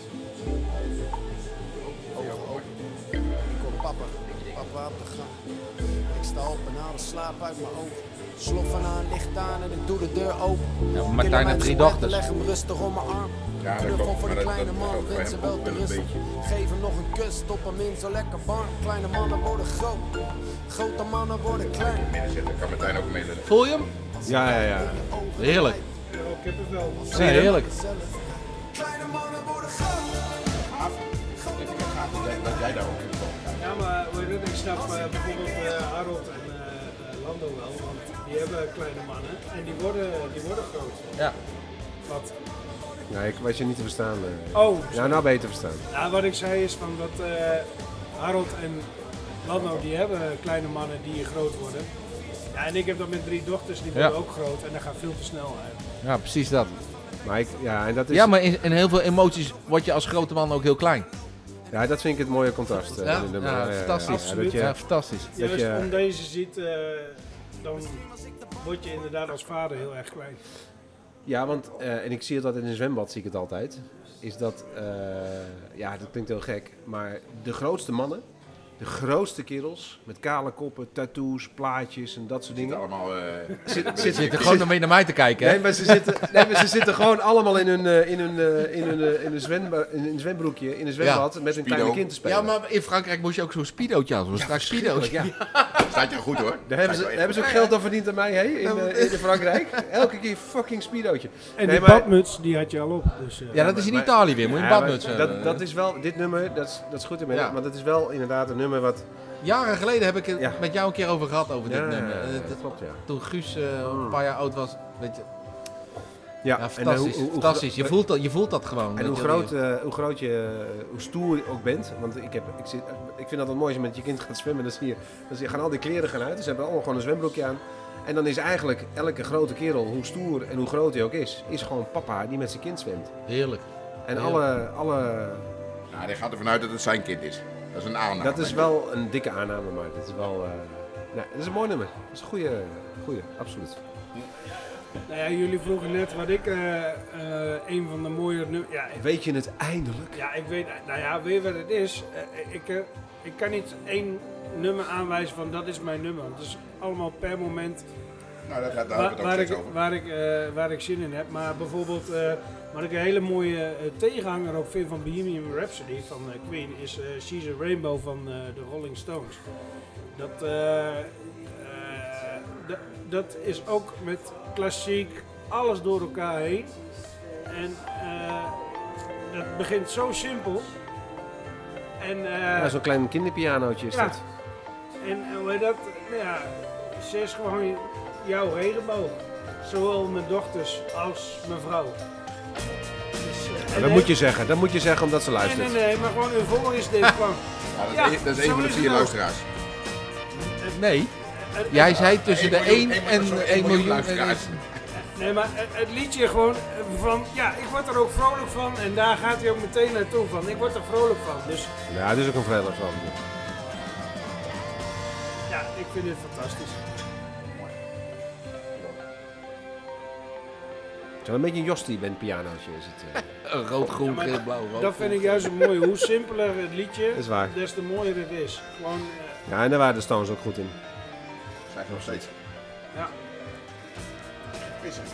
[SPEAKER 8] Ogen open. oh. Ik hoor papa. Papa op de gang. Ik sta op en haal de slaap uit mijn ogen. Sloffen aan, licht aan en ik doe de deur open.
[SPEAKER 3] Ja, maar
[SPEAKER 8] Killen
[SPEAKER 3] Martijn heeft
[SPEAKER 8] mijn
[SPEAKER 3] drie
[SPEAKER 8] gedachten,
[SPEAKER 3] dochters.
[SPEAKER 8] Leg hem rustig om mijn arm.
[SPEAKER 2] Ja, dat
[SPEAKER 8] Terug
[SPEAKER 2] klopt,
[SPEAKER 8] om voor de
[SPEAKER 2] maar dat-
[SPEAKER 8] kleine
[SPEAKER 2] dat-
[SPEAKER 8] man,
[SPEAKER 2] dat-
[SPEAKER 8] wens
[SPEAKER 2] dat-
[SPEAKER 8] hem
[SPEAKER 2] dat-
[SPEAKER 8] wel
[SPEAKER 2] dat-
[SPEAKER 8] te
[SPEAKER 2] dat-
[SPEAKER 8] rusten.
[SPEAKER 2] een
[SPEAKER 8] Geef hem nog een kus, stop hem in zo lekker warm. Kleine mannen worden groot, grote mannen worden klein.
[SPEAKER 2] Midden zitten, kan Martijn ook meedoen.
[SPEAKER 3] Voel je hem?
[SPEAKER 1] Ja, ja, ja.
[SPEAKER 3] Heerlijk.
[SPEAKER 7] Oh, kippenvel.
[SPEAKER 3] Ja, heerlijk.
[SPEAKER 8] Kleine mannen worden groot.
[SPEAKER 2] Dat jij daar ook in komt.
[SPEAKER 7] Ja, maar hoe heet het? ik snap eh, bijvoorbeeld eh, Harold en eh, eh, Lando wel, want die hebben kleine mannen en die worden, die worden groot.
[SPEAKER 3] Ja.
[SPEAKER 7] Wat,
[SPEAKER 1] Nee, ik was je niet te verstaan. eh.
[SPEAKER 7] Oh,
[SPEAKER 1] Ja, nou beter verstaan.
[SPEAKER 7] nou, wat ik zei is van dat eh Harold en Lando die hebben kleine mannen die groot worden. Ja, en ik heb dat met drie dochters, die
[SPEAKER 3] Ja.
[SPEAKER 7] worden ook groot en dat gaat veel te snel uit.
[SPEAKER 3] Ja, precies dat.
[SPEAKER 1] Maar ik, ja, en dat is,
[SPEAKER 3] Ja, maar in, in heel veel emoties word je als grote man ook heel klein.
[SPEAKER 1] ja, dat vind ik het mooie contrast. eh,
[SPEAKER 3] Ja?
[SPEAKER 1] in de-
[SPEAKER 3] Ja,
[SPEAKER 1] ja, ja, ja.
[SPEAKER 3] fantastisch.
[SPEAKER 1] Ja, dat je-
[SPEAKER 3] Ja, fantastisch.
[SPEAKER 1] Dat
[SPEAKER 7] Juist
[SPEAKER 1] je-
[SPEAKER 7] om deze ziet, eh, dan word je inderdaad als vader heel erg klein.
[SPEAKER 1] Ja, want, eh, en ik zie het altijd in een zwembad, zie ik het altijd. Is dat, eh, ja, dat klinkt heel gek, maar de grootste mannen, de grootste kerels, met kale koppen, tattoos, plaatjes en dat soort dingen.
[SPEAKER 2] Allemaal, eh,
[SPEAKER 1] Zit,
[SPEAKER 3] Je zit er gewoon een beetje naar mij te kijken, hè?
[SPEAKER 1] Nee, maar ze zitten, nee, maar ze zitten gewoon allemaal in hun, eh, in hun, eh, in hun, eh, in hun, zwemba- in hun zwembroekje, in een zwembad, met hun kleine
[SPEAKER 2] Speedo.
[SPEAKER 1] kind te spelen.
[SPEAKER 3] Ja, maar in Frankrijk moest je ook zo'n speedootje aan, zo'n strak speedootje.
[SPEAKER 1] Ja,
[SPEAKER 2] staat je goed hoor.
[SPEAKER 1] daar hebben ze, daar hebben ze ook
[SPEAKER 3] oh
[SPEAKER 1] geld aan verdiend aan mij, hè, in, eh, in Frankrijk. Elke keer fucking speedootje.
[SPEAKER 7] En
[SPEAKER 1] Nee,
[SPEAKER 7] die
[SPEAKER 1] maar-
[SPEAKER 7] badmuts, die had je al op. Dus, eh,
[SPEAKER 3] Ja, dat is in
[SPEAKER 1] maar-
[SPEAKER 3] Italië weer, moet je een
[SPEAKER 1] Ja,
[SPEAKER 3] badmuts eh.
[SPEAKER 1] maar
[SPEAKER 3] hebben.
[SPEAKER 1] dat, dat is wel, dit nummer, dat is, dat is goed in
[SPEAKER 3] Ja.
[SPEAKER 1] ja. want het is wel inderdaad een nummer wat...
[SPEAKER 3] Jaren geleden heb ik het
[SPEAKER 1] Ja.
[SPEAKER 3] met jou een keer over gehad, over
[SPEAKER 1] Ja,
[SPEAKER 3] dit nummer. Eh, dat-
[SPEAKER 1] dat klopt, ja.
[SPEAKER 3] Toen Guus eh, een paar jaar oud was, weet je,
[SPEAKER 1] Ja,
[SPEAKER 3] ja,
[SPEAKER 1] en, eh, hoe-
[SPEAKER 3] fantastisch.
[SPEAKER 1] hoe- hoe-
[SPEAKER 3] fantastisch. Je, voelt dat, je voelt dat gewoon.
[SPEAKER 1] En
[SPEAKER 3] weet
[SPEAKER 1] hoe
[SPEAKER 3] je,
[SPEAKER 1] groot,
[SPEAKER 3] die-
[SPEAKER 1] eh, hoe groot je, eh, hoe stoer je ook bent. Want ik, heb, ik, zit, ik vind dat wel mooi als je met je kind gaat zwemmen. Dan, zie je, dan zie je- gaan al die kleren gaan uit. Dus ze hebben allemaal gewoon een zwembroekje aan. En dan is eigenlijk elke grote kerel, hoe stoer en hoe groot hij ook is, is gewoon papa die met zijn kind zwemt.
[SPEAKER 3] Heerlijk.
[SPEAKER 1] En
[SPEAKER 3] Ja.
[SPEAKER 1] alle, alle,
[SPEAKER 2] Nou, hij gaat ervan uit dat het zijn kind is. Dat is een aanname.
[SPEAKER 1] dat is wel een dikke aanname, maar dat is wel, eh, nou, dat is een mooi nummer. Dat is een goede, goede, absoluut.
[SPEAKER 7] Nou ja, jullie vroegen net wat ik eh, eh, een van de mooie nummers... Ja, ik-
[SPEAKER 1] Weet je het eindelijk?
[SPEAKER 7] ja, ik weet... Nou ja, weet je wat het is? Eh, ik, eh, ik kan niet één nummer aanwijzen van dat is mijn nummer. Want het is allemaal per moment
[SPEAKER 2] Nou, daar gaat daar hebben
[SPEAKER 7] waar,
[SPEAKER 2] we het
[SPEAKER 7] waar,
[SPEAKER 2] ook
[SPEAKER 7] ik,
[SPEAKER 2] steeds over.
[SPEAKER 7] waar, ik, eh, waar ik zin in heb. Maar bijvoorbeeld, eh wat ik een hele mooie eh, tegenhanger ook vind van Bohemian Rhapsody van eh, Queen, is eh She's a Rainbow van eh, de Rolling Stones. Dat, eh, eh, dat- dat is ook met klassiek, alles door elkaar heen. En eh, dat begint zo simpel. En, eh,
[SPEAKER 1] Ja, zo'n klein kinderpianootje is
[SPEAKER 7] Ja.
[SPEAKER 1] dat.
[SPEAKER 7] en eh, hoe heet dat? Nou ja, ze is gewoon jouw regenboog. Zowel mijn dochters als mijn vrouw. Dus, eh,
[SPEAKER 1] Ja,
[SPEAKER 7] en
[SPEAKER 1] dat moet je zeggen, dat moet je zeggen omdat ze
[SPEAKER 7] Nee, nee,
[SPEAKER 1] luistert.
[SPEAKER 7] nee, maar gewoon euforisch dit gewoon.
[SPEAKER 2] Ja, Nou, dat,
[SPEAKER 7] Ja,
[SPEAKER 2] is, dat is een
[SPEAKER 7] zo
[SPEAKER 2] van de
[SPEAKER 7] is
[SPEAKER 2] vier
[SPEAKER 7] het ook.
[SPEAKER 2] luisteraars.
[SPEAKER 3] Nee,
[SPEAKER 7] Het-
[SPEAKER 3] jij zei tussen de
[SPEAKER 2] Eén miljoen-
[SPEAKER 3] 1
[SPEAKER 2] één- zo'n
[SPEAKER 3] en
[SPEAKER 2] één
[SPEAKER 3] 1 miljoen.
[SPEAKER 2] luisteraars.
[SPEAKER 7] Nee, maar het, het liedje gewoon eh, van, ja, ik word er ook vrolijk van en daar gaat hij ook meteen naartoe van. Ik word er vrolijk van, dus
[SPEAKER 1] Ja, dat is ook een vrijdag van.
[SPEAKER 7] ja, ik vind dit fantastisch.
[SPEAKER 1] Zo'n beetje een Jostie bent pianootje is het. eh.
[SPEAKER 3] eh, Rood, groen, geel, blauw, rood.
[SPEAKER 7] Dat vind ik juist een mooie. Hoe simpeler het liedje,
[SPEAKER 1] Dat is waar.
[SPEAKER 7] des te mooier het is. Gewoon, eh,
[SPEAKER 1] Ja, en daar waren de Stones ook goed in.
[SPEAKER 2] Zijn ze nog steeds.
[SPEAKER 7] ja.
[SPEAKER 2] Is het.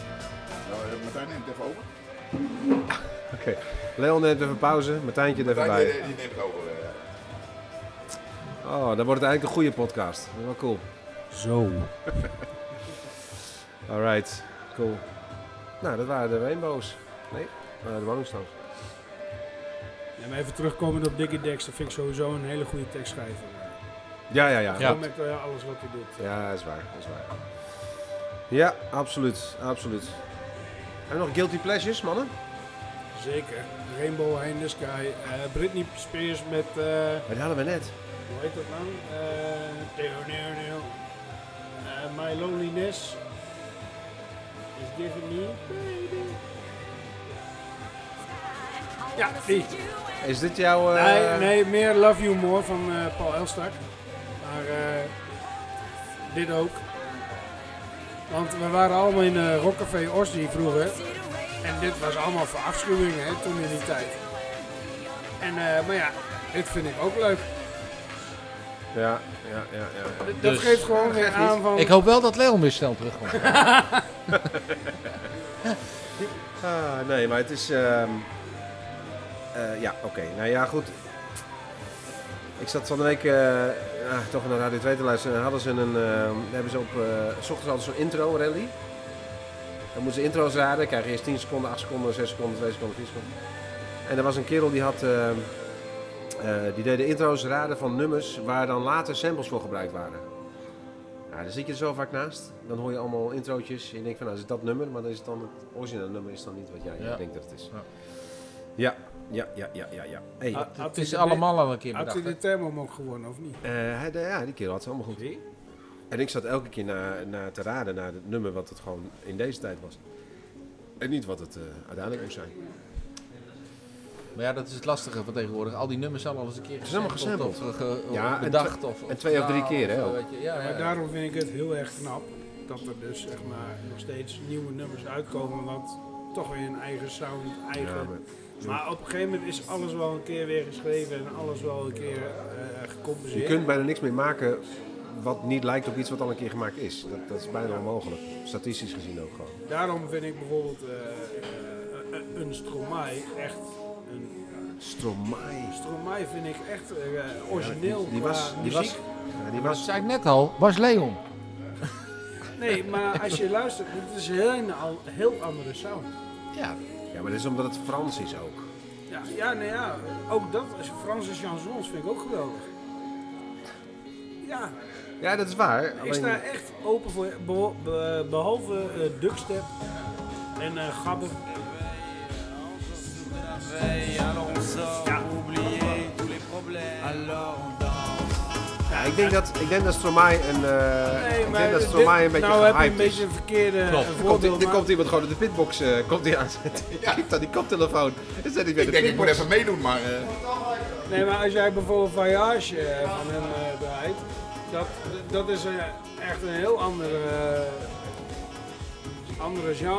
[SPEAKER 2] Nou, eh, Martijn neemt het even over.
[SPEAKER 1] Oké. Leon neemt even pauze, Martijntje er even
[SPEAKER 2] Martijn,
[SPEAKER 1] bij.
[SPEAKER 2] eh, die neemt het over. eh.
[SPEAKER 1] Oh, dan wordt het eigenlijk een goede podcast. Dat is wel cool. Zo. Alright, cool. Nou, dat waren de Rainbows. Nee, dat waren de Rolling Stones.
[SPEAKER 7] Ja, maar even terugkomend op Diggy Dex, dat vind ik sowieso een hele goede tekstschrijver.
[SPEAKER 1] Ja, ja, ja.
[SPEAKER 7] Gewoon met eh, alles wat hij doet.
[SPEAKER 1] Ja, dat is waar, dat is waar. Ja, absoluut, absoluut. En nog Guilty Pleasures, mannen?
[SPEAKER 7] Zeker. Rainbow High in the Sky. eh, Britney Spears met, eh,
[SPEAKER 1] Maar Oh, die hadden we net.
[SPEAKER 7] hoe heet dat nou? Eh, Deo, Deo, Deo. Eh, My Loneliness is Giving Me. Ja, die.
[SPEAKER 1] Is dit jouw... eh,
[SPEAKER 7] Nee, nee, meer Love You More van eh, Paul Elstak. Maar eh, dit ook. Want we waren allemaal in eh Rockcafé Osdi vroeger. En dit was allemaal verafschuwing hè, toen in die tijd. En, eh, maar ja, dit vind ik ook leuk.
[SPEAKER 1] Ja, ja, ja, ja.
[SPEAKER 7] D- dat geeft gewoon weer aan van...
[SPEAKER 3] Ik hoop wel dat Leon weer snel terugkomt.
[SPEAKER 1] Ah, nee, maar het is. ehm, eh, ja, oké. Nou ja, goed. Ik zat van de week eh, ah, toch naar Radio 2 te luisteren. En hadden ze een. ehm, hebben ze op. eh, s ochtends hadden ze zo'n intro rally. Dan moeten ze intro's raden. Dan krijg je eerst 10 seconden, 8 seconden, 6 seconden, 2 seconden, 4 seconden. En er was een kerel die had. ehm, eh, die deed de intro's raden van nummers waar dan later samples voor gebruikt waren. Ja, dan zit je er zo vaak naast. Dan hoor je allemaal introotjes. En je denkt van, nou is het dat nummer, maar dan is het dan het originele nummer is dan niet wat jij
[SPEAKER 3] Ja.
[SPEAKER 1] denkt dat het is.
[SPEAKER 3] Ja. Ah,
[SPEAKER 1] Ja, ja, ja, ja, ja. ja. Hey,
[SPEAKER 7] Had- had
[SPEAKER 3] Het is
[SPEAKER 7] hij de-
[SPEAKER 3] allemaal al een keer
[SPEAKER 7] Had
[SPEAKER 3] bedacht.
[SPEAKER 7] hij
[SPEAKER 3] hè?
[SPEAKER 7] de Thermomok gewonnen of niet?
[SPEAKER 1] eh, hij- ja, die kerel had ze allemaal goed. En ik zat elke keer naar na te raden naar het nummer wat het gewoon in deze tijd was. En niet wat het eh, uiteindelijk moest zijn.
[SPEAKER 3] Maar ja, dat is het lastige van tegenwoordig. Al die nummers zijn al eens een keer
[SPEAKER 1] is allemaal
[SPEAKER 3] gesampled of, eh,
[SPEAKER 1] gesampled.
[SPEAKER 3] ge- of
[SPEAKER 1] Ja, en
[SPEAKER 3] bedacht.
[SPEAKER 1] twe-
[SPEAKER 3] of,
[SPEAKER 1] en twee of drie
[SPEAKER 3] gedaan
[SPEAKER 1] keer, hè,
[SPEAKER 3] of, eh,
[SPEAKER 1] ook.
[SPEAKER 3] weet je, ja, ja,
[SPEAKER 7] Maar
[SPEAKER 3] ja.
[SPEAKER 7] daarom vind ik het heel erg knap dat er dus zeg maar, nog steeds nieuwe nummers uitkomen. Wat toch weer een eigen sound, eigen.
[SPEAKER 1] Ja,
[SPEAKER 7] maar,
[SPEAKER 1] maar-
[SPEAKER 7] op een gegeven moment is alles wel een keer weer geschreven en alles wel een keer eh
[SPEAKER 1] Je
[SPEAKER 7] gecompenseerd.
[SPEAKER 1] kunt bijna niks meer maken wat niet lijkt op iets wat al een keer gemaakt is. Dat, dat is bijna onmogelijk. Statistisch gezien ook gewoon.
[SPEAKER 7] Daarom vind ik bijvoorbeeld eh, eh, eh, een Stromae echt een.
[SPEAKER 1] Stromae.
[SPEAKER 7] Stromae vind ik echt eh, origineel.
[SPEAKER 1] Die
[SPEAKER 7] qua
[SPEAKER 1] was, die
[SPEAKER 7] muziek.
[SPEAKER 1] was, ja, die
[SPEAKER 3] Dat
[SPEAKER 1] was
[SPEAKER 3] zei ik net al, was Leon.
[SPEAKER 7] Nee, maar als je luistert, het is een heel, al- heel andere sound.
[SPEAKER 1] Ja. ja, maar dat is omdat het Frans is ook.
[SPEAKER 7] Ja, ja, nou ja, ook dat, als Franse chansons vind ik ook geweldig. Ja,
[SPEAKER 1] Ja, dat is waar.
[SPEAKER 7] ik
[SPEAKER 1] Alleen,
[SPEAKER 7] sta echt open voor, beho- be- behalve eh dubstep en eh gabber.
[SPEAKER 1] ja, ik, denk dat, ik denk dat Stromae een, eh, ik denk dat
[SPEAKER 7] dit-
[SPEAKER 1] Stromae een beetje
[SPEAKER 7] nou heb je
[SPEAKER 1] gehyped
[SPEAKER 7] een
[SPEAKER 1] is.
[SPEAKER 7] beetje een verkeerde eh,
[SPEAKER 1] Er komt,
[SPEAKER 7] voorbeeld.
[SPEAKER 1] er
[SPEAKER 7] maar-
[SPEAKER 1] komt iemand gewoon in de pitbox eh, komt die aanzetten. Ja. Ik dan die koptelefoon. Dan zet ik weer
[SPEAKER 2] Ik
[SPEAKER 1] de
[SPEAKER 2] denk, ik moet
[SPEAKER 1] pitbox.
[SPEAKER 2] even meedoen, maar... eh,
[SPEAKER 7] Nee, maar als jij bijvoorbeeld Voyage eh, van hem eh, draait, dat, dat is eh, echt een heel andere, eh, andere genre.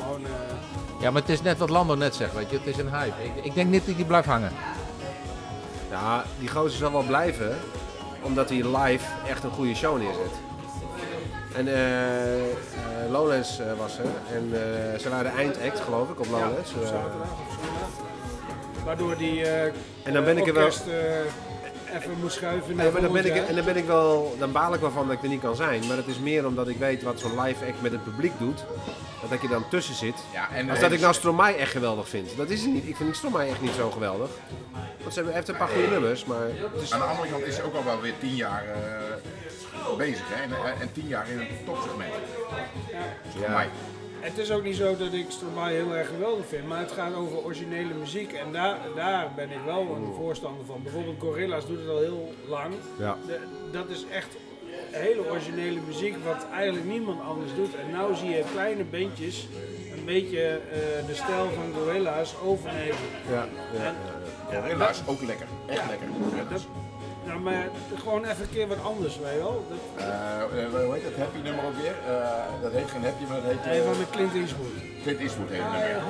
[SPEAKER 7] Gewoon, eh.
[SPEAKER 3] Ja, maar het is net wat Lando net zegt, weet je. Het is een hype. Ik, ik denk niet dat die blijft hangen.
[SPEAKER 1] Ja, die gozer zal wel blijven. Omdat hij live echt een goede show neerzet. En eh eh, Lowlands eh, was er. En eh, ze waren de eindact geloof ik op
[SPEAKER 7] Ja,
[SPEAKER 1] Lowlands.
[SPEAKER 7] op
[SPEAKER 1] Eh,
[SPEAKER 7] zaterdag of zondag. Waardoor die eh
[SPEAKER 1] En dan ben ik er wel-
[SPEAKER 7] orkest, eh, even moest schuiven naar
[SPEAKER 1] Nee, maar dan ben ik,
[SPEAKER 7] volgend
[SPEAKER 1] en
[SPEAKER 7] jaar.
[SPEAKER 1] dan ben ik wel, dan baal ik wel van dat ik er niet kan zijn. Maar het is meer omdat ik weet wat zo'n live act met het publiek doet. Dat ik er dan tussen zit.
[SPEAKER 2] Ja, en,
[SPEAKER 1] Als dat ik nou Stromae echt geweldig vind. Dat is het niet. Ik vind Stromae echt niet zo geweldig. Want ze hebben, hij heeft een paar goede nummers, maar... Het is,
[SPEAKER 2] Aan de andere kant is ze ook al wel weer tien jaar eh, bezig, hè? En, en tien jaar in het topsegment. Voor mij.
[SPEAKER 7] Het is ook niet zo dat ik Stromae heel erg geweldig vind, maar het gaat over originele muziek. En daar, daar ben ik wel een voorstander van. Bijvoorbeeld Gorillaz doet het al heel lang.
[SPEAKER 1] Ja.
[SPEAKER 7] De- dat is echt hele originele muziek wat eigenlijk niemand anders doet. En nou zie je kleine bandjes een beetje eh, de stijl van Gorillaz overnemen.
[SPEAKER 1] ja, ja.
[SPEAKER 7] En
[SPEAKER 2] Gorilla's, ook lekker. Echt lekker. Eh, dus,
[SPEAKER 7] Dat, nou, maar gewoon even een keer wat anders, weet je wel. Dat,
[SPEAKER 2] Eh, eh, hoe heet dat happy nummer ook weer? Eh, dat heet geen happy, maar dat heet... eh,
[SPEAKER 7] nee, van de Clint Eastwood.
[SPEAKER 2] Clint Eastwood heet het nummer.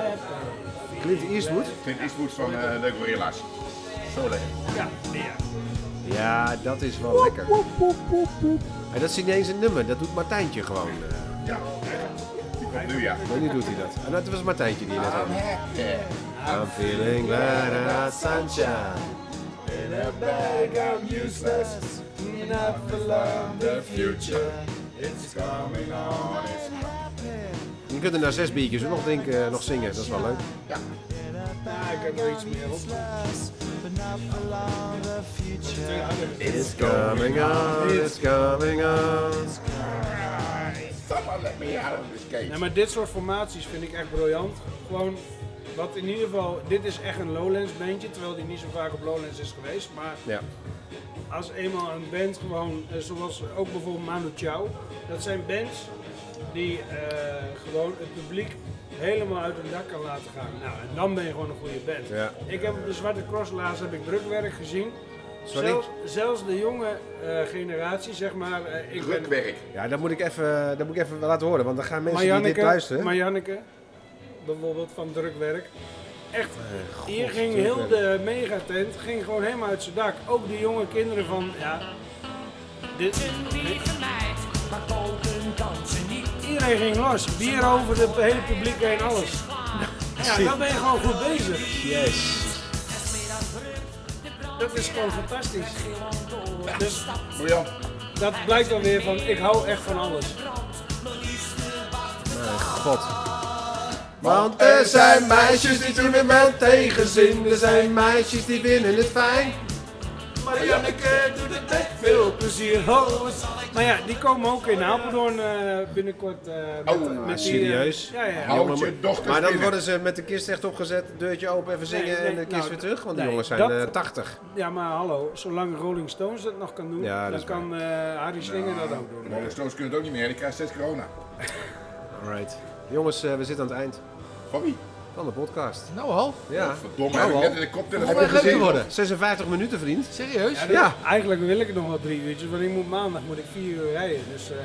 [SPEAKER 1] Clint Eastwood?
[SPEAKER 2] Clint Eastwood van eh, de Gorilla's. Zo lekker.
[SPEAKER 7] Ja, ja.
[SPEAKER 1] Ja, dat is wel lekker. En dat is niet eens een nummer, dat doet Martijntje gewoon. eh.
[SPEAKER 2] Ja. Die komt nu, ja.
[SPEAKER 1] Maar nu doet hij dat. En dat was Martijntje die je net had.
[SPEAKER 2] Eh,
[SPEAKER 1] I'm feeling glad out sunshine. In a bag I'm useless. Not for long.
[SPEAKER 2] The future, it's coming on. It's
[SPEAKER 1] Je kunt er na zes biertjes ook nog drinken, eh, nog zingen. Dat is wel leuk.
[SPEAKER 7] Ja, ik heb er iets meer op.
[SPEAKER 1] It's coming on, it's coming on.
[SPEAKER 2] Someone let me out of this cage.
[SPEAKER 7] Nee, maar dit soort formaties vind ik echt briljant. Gewoon, wat in ieder geval, dit is echt een Lowlands bandje, terwijl die niet zo vaak op Lowlands is geweest. Maar
[SPEAKER 1] Ja.
[SPEAKER 7] als eenmaal een band gewoon, eh, zoals ook bijvoorbeeld Manu Chao, dat zijn bands die eh, gewoon het publiek helemaal uit hun dak kan laten gaan. Nou, en dan ben je gewoon een goede band.
[SPEAKER 1] Ja.
[SPEAKER 7] Ik heb op de Zwarte Cross laatst heb ik drukwerk gezien.
[SPEAKER 1] Sorry?
[SPEAKER 7] Zelfs, zelfs de jonge eh, generatie, zeg maar. eh, ik ben
[SPEAKER 2] Drukwerk.
[SPEAKER 1] Ja, dat moet ik even, dat moet ik even laten horen, want dan gaan mensen die dit
[SPEAKER 7] Marjanneke,
[SPEAKER 1] luisteren.
[SPEAKER 7] Marjanneke, bijvoorbeeld van drukwerk. Echt, hier ging heel de megatent ging gewoon helemaal uit zijn dak. Ook de jonge kinderen van, ja, dit, iedereen ging los. Bier over het hele publiek heen, alles. Ja, dan ben je gewoon goed bezig.
[SPEAKER 1] Yes.
[SPEAKER 7] Dat is gewoon fantastisch. Dus
[SPEAKER 2] Briljant.
[SPEAKER 7] dat blijkt dan weer van, ik hou echt van alles.
[SPEAKER 1] God. Want er zijn meisjes die doen er wel tegenzin. Er zijn meisjes die vinden het fijn.
[SPEAKER 7] Marianneke doet het met veel plezier. Ho, het- Maar ja, die komen ook in Apeldoorn eh, binnenkort. eh, met,
[SPEAKER 2] Oh,
[SPEAKER 7] met
[SPEAKER 1] Maar
[SPEAKER 7] die, eh,
[SPEAKER 1] serieus?
[SPEAKER 7] ja, ja.
[SPEAKER 2] Hou je dochters
[SPEAKER 1] maar dan
[SPEAKER 2] binnen.
[SPEAKER 1] worden ze met de kist echt opgezet, deurtje open, even zingen
[SPEAKER 7] Nee, nee,
[SPEAKER 1] en de kist
[SPEAKER 7] nou,
[SPEAKER 1] weer terug. Want die
[SPEAKER 7] nee,
[SPEAKER 1] jongens zijn
[SPEAKER 7] dat-
[SPEAKER 1] eh, 80.
[SPEAKER 7] Ja, maar hallo, zolang Rolling Stones dat nog kan doen,
[SPEAKER 1] Ja, dat
[SPEAKER 7] dan
[SPEAKER 1] is
[SPEAKER 7] kan eh Harry Slinger dat ook doen.
[SPEAKER 2] De Rolling Stones kunnen het ook niet meer, die krijgen steeds corona.
[SPEAKER 1] Alright. Jongens, eh, we zitten aan het eind
[SPEAKER 2] Van wie?
[SPEAKER 1] van de podcast.
[SPEAKER 3] Nou al?
[SPEAKER 1] Ja.
[SPEAKER 2] Verdomme, heb ik net in de
[SPEAKER 3] Heb
[SPEAKER 2] koptelefoon
[SPEAKER 3] je leuk
[SPEAKER 2] gezien.
[SPEAKER 3] te worden?
[SPEAKER 1] 56 minuten, vriend.
[SPEAKER 3] Serieus?
[SPEAKER 7] Ja,
[SPEAKER 1] Ja.
[SPEAKER 7] Eigenlijk wil ik het nog wel drie uurtjes, want ik moet maandag moet ik vier uur rijden. Dus eh,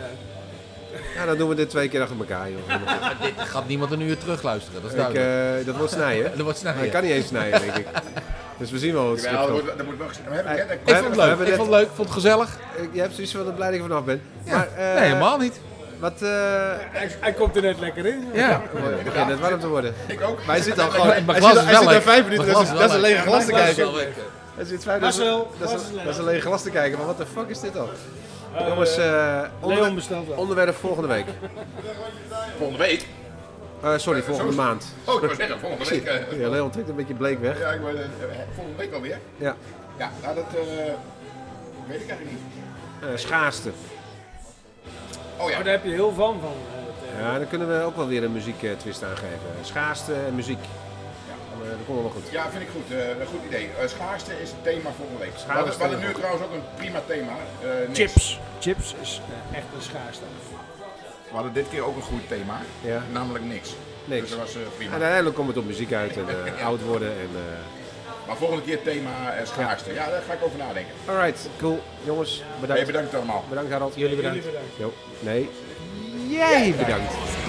[SPEAKER 1] Ja, dan doen we dit twee keer achter elkaar, joh.
[SPEAKER 3] Maar dit gaat niemand een uur terug luisteren, dat is
[SPEAKER 1] Ik,
[SPEAKER 3] duidelijk.
[SPEAKER 1] eh, dat wordt snijden.
[SPEAKER 3] Dat wordt snel.
[SPEAKER 1] Maar ik kan niet eens snijden, denk ik. Dus we zien wel hoe het
[SPEAKER 2] Jawel,
[SPEAKER 1] script komt.
[SPEAKER 2] dat moet- dat moet wel gezien. Maar heb ik net een
[SPEAKER 1] we
[SPEAKER 3] Ik
[SPEAKER 2] kop-
[SPEAKER 3] vond het
[SPEAKER 1] we
[SPEAKER 3] leuk,
[SPEAKER 1] hebben
[SPEAKER 3] ik
[SPEAKER 1] net-
[SPEAKER 3] vond het leuk, ik vond het gezellig.
[SPEAKER 1] Ik- Je hebt zoiets van, dat blij dat ik er vanaf ben. Maar, eh,
[SPEAKER 3] nee, helemaal niet.
[SPEAKER 1] Wat, eh,
[SPEAKER 7] hij, hij komt er net lekker in. joh.
[SPEAKER 3] Ja.
[SPEAKER 1] het begint net warm te worden.
[SPEAKER 2] Ik ook.
[SPEAKER 1] Wij zitten al gewoon...
[SPEAKER 3] Mijn
[SPEAKER 1] Hij
[SPEAKER 3] glas
[SPEAKER 1] zit,
[SPEAKER 3] is
[SPEAKER 1] hij
[SPEAKER 3] wel
[SPEAKER 1] zit daar
[SPEAKER 3] leeg.
[SPEAKER 1] vijf minuten,
[SPEAKER 3] Mijn
[SPEAKER 1] dat is,
[SPEAKER 3] glas
[SPEAKER 1] dat is een
[SPEAKER 3] wel
[SPEAKER 1] lege glas te
[SPEAKER 3] Mijn glas is
[SPEAKER 1] kijken.
[SPEAKER 3] wel leeg.
[SPEAKER 1] Hij zit vijf
[SPEAKER 7] Marcel,
[SPEAKER 1] dat is,
[SPEAKER 7] glas is
[SPEAKER 1] een-
[SPEAKER 7] leeg.
[SPEAKER 1] dat is een lege glas te kijken, maar wat de fuck is dit dan?
[SPEAKER 7] Eh,
[SPEAKER 1] Jongens, eh,
[SPEAKER 7] Leon
[SPEAKER 1] onderwerp,
[SPEAKER 7] bestelt wel.
[SPEAKER 1] onderwerp volgende week.
[SPEAKER 2] Volgende week.
[SPEAKER 1] Eh, sorry, volgende maand.
[SPEAKER 2] Oh, ik wou zeggen, volgende week. eh,
[SPEAKER 1] Ja, Leon trekt een beetje bleek weg.
[SPEAKER 2] Ja, ik wou, eh, volgende week alweer.
[SPEAKER 1] Ja.
[SPEAKER 2] Ja, nou dat eh, weet ik eigenlijk niet.
[SPEAKER 1] Eh, schaarste.
[SPEAKER 2] Oh ja,
[SPEAKER 7] Maar daar heb je heel van van. eh, het, eh,
[SPEAKER 1] Ja, dan kunnen we ook wel weer een muziektwist aangeven. Schaarste en muziek. Ja. dat komt wel goed.
[SPEAKER 2] ja vind ik goed. eh, een goed idee. Eh, schaarste is het thema volgende week.
[SPEAKER 1] Schaarste.
[SPEAKER 2] Wat is wat is nu trouwens ook een prima thema. eh, niks.
[SPEAKER 7] chips. Chips is eh, echt een schaarste.
[SPEAKER 2] We hadden dit keer ook een goed thema.
[SPEAKER 1] Ja.
[SPEAKER 2] Namelijk niks.
[SPEAKER 1] Niks.
[SPEAKER 2] Dus dat was eh, prima.
[SPEAKER 1] En uiteindelijk komt het op muziek uit en eh, oud worden. En, eh,
[SPEAKER 2] Maar volgende keer thema eh, schaarste. Ja, daar ga ik over nadenken.
[SPEAKER 1] Alright, cool. Jongens,
[SPEAKER 2] Hey,
[SPEAKER 1] bedankt.
[SPEAKER 2] bedankt allemaal.
[SPEAKER 1] Bedankt Harald. Jullie
[SPEAKER 7] bedankt.
[SPEAKER 1] Jo. Nee. Jij bedankt.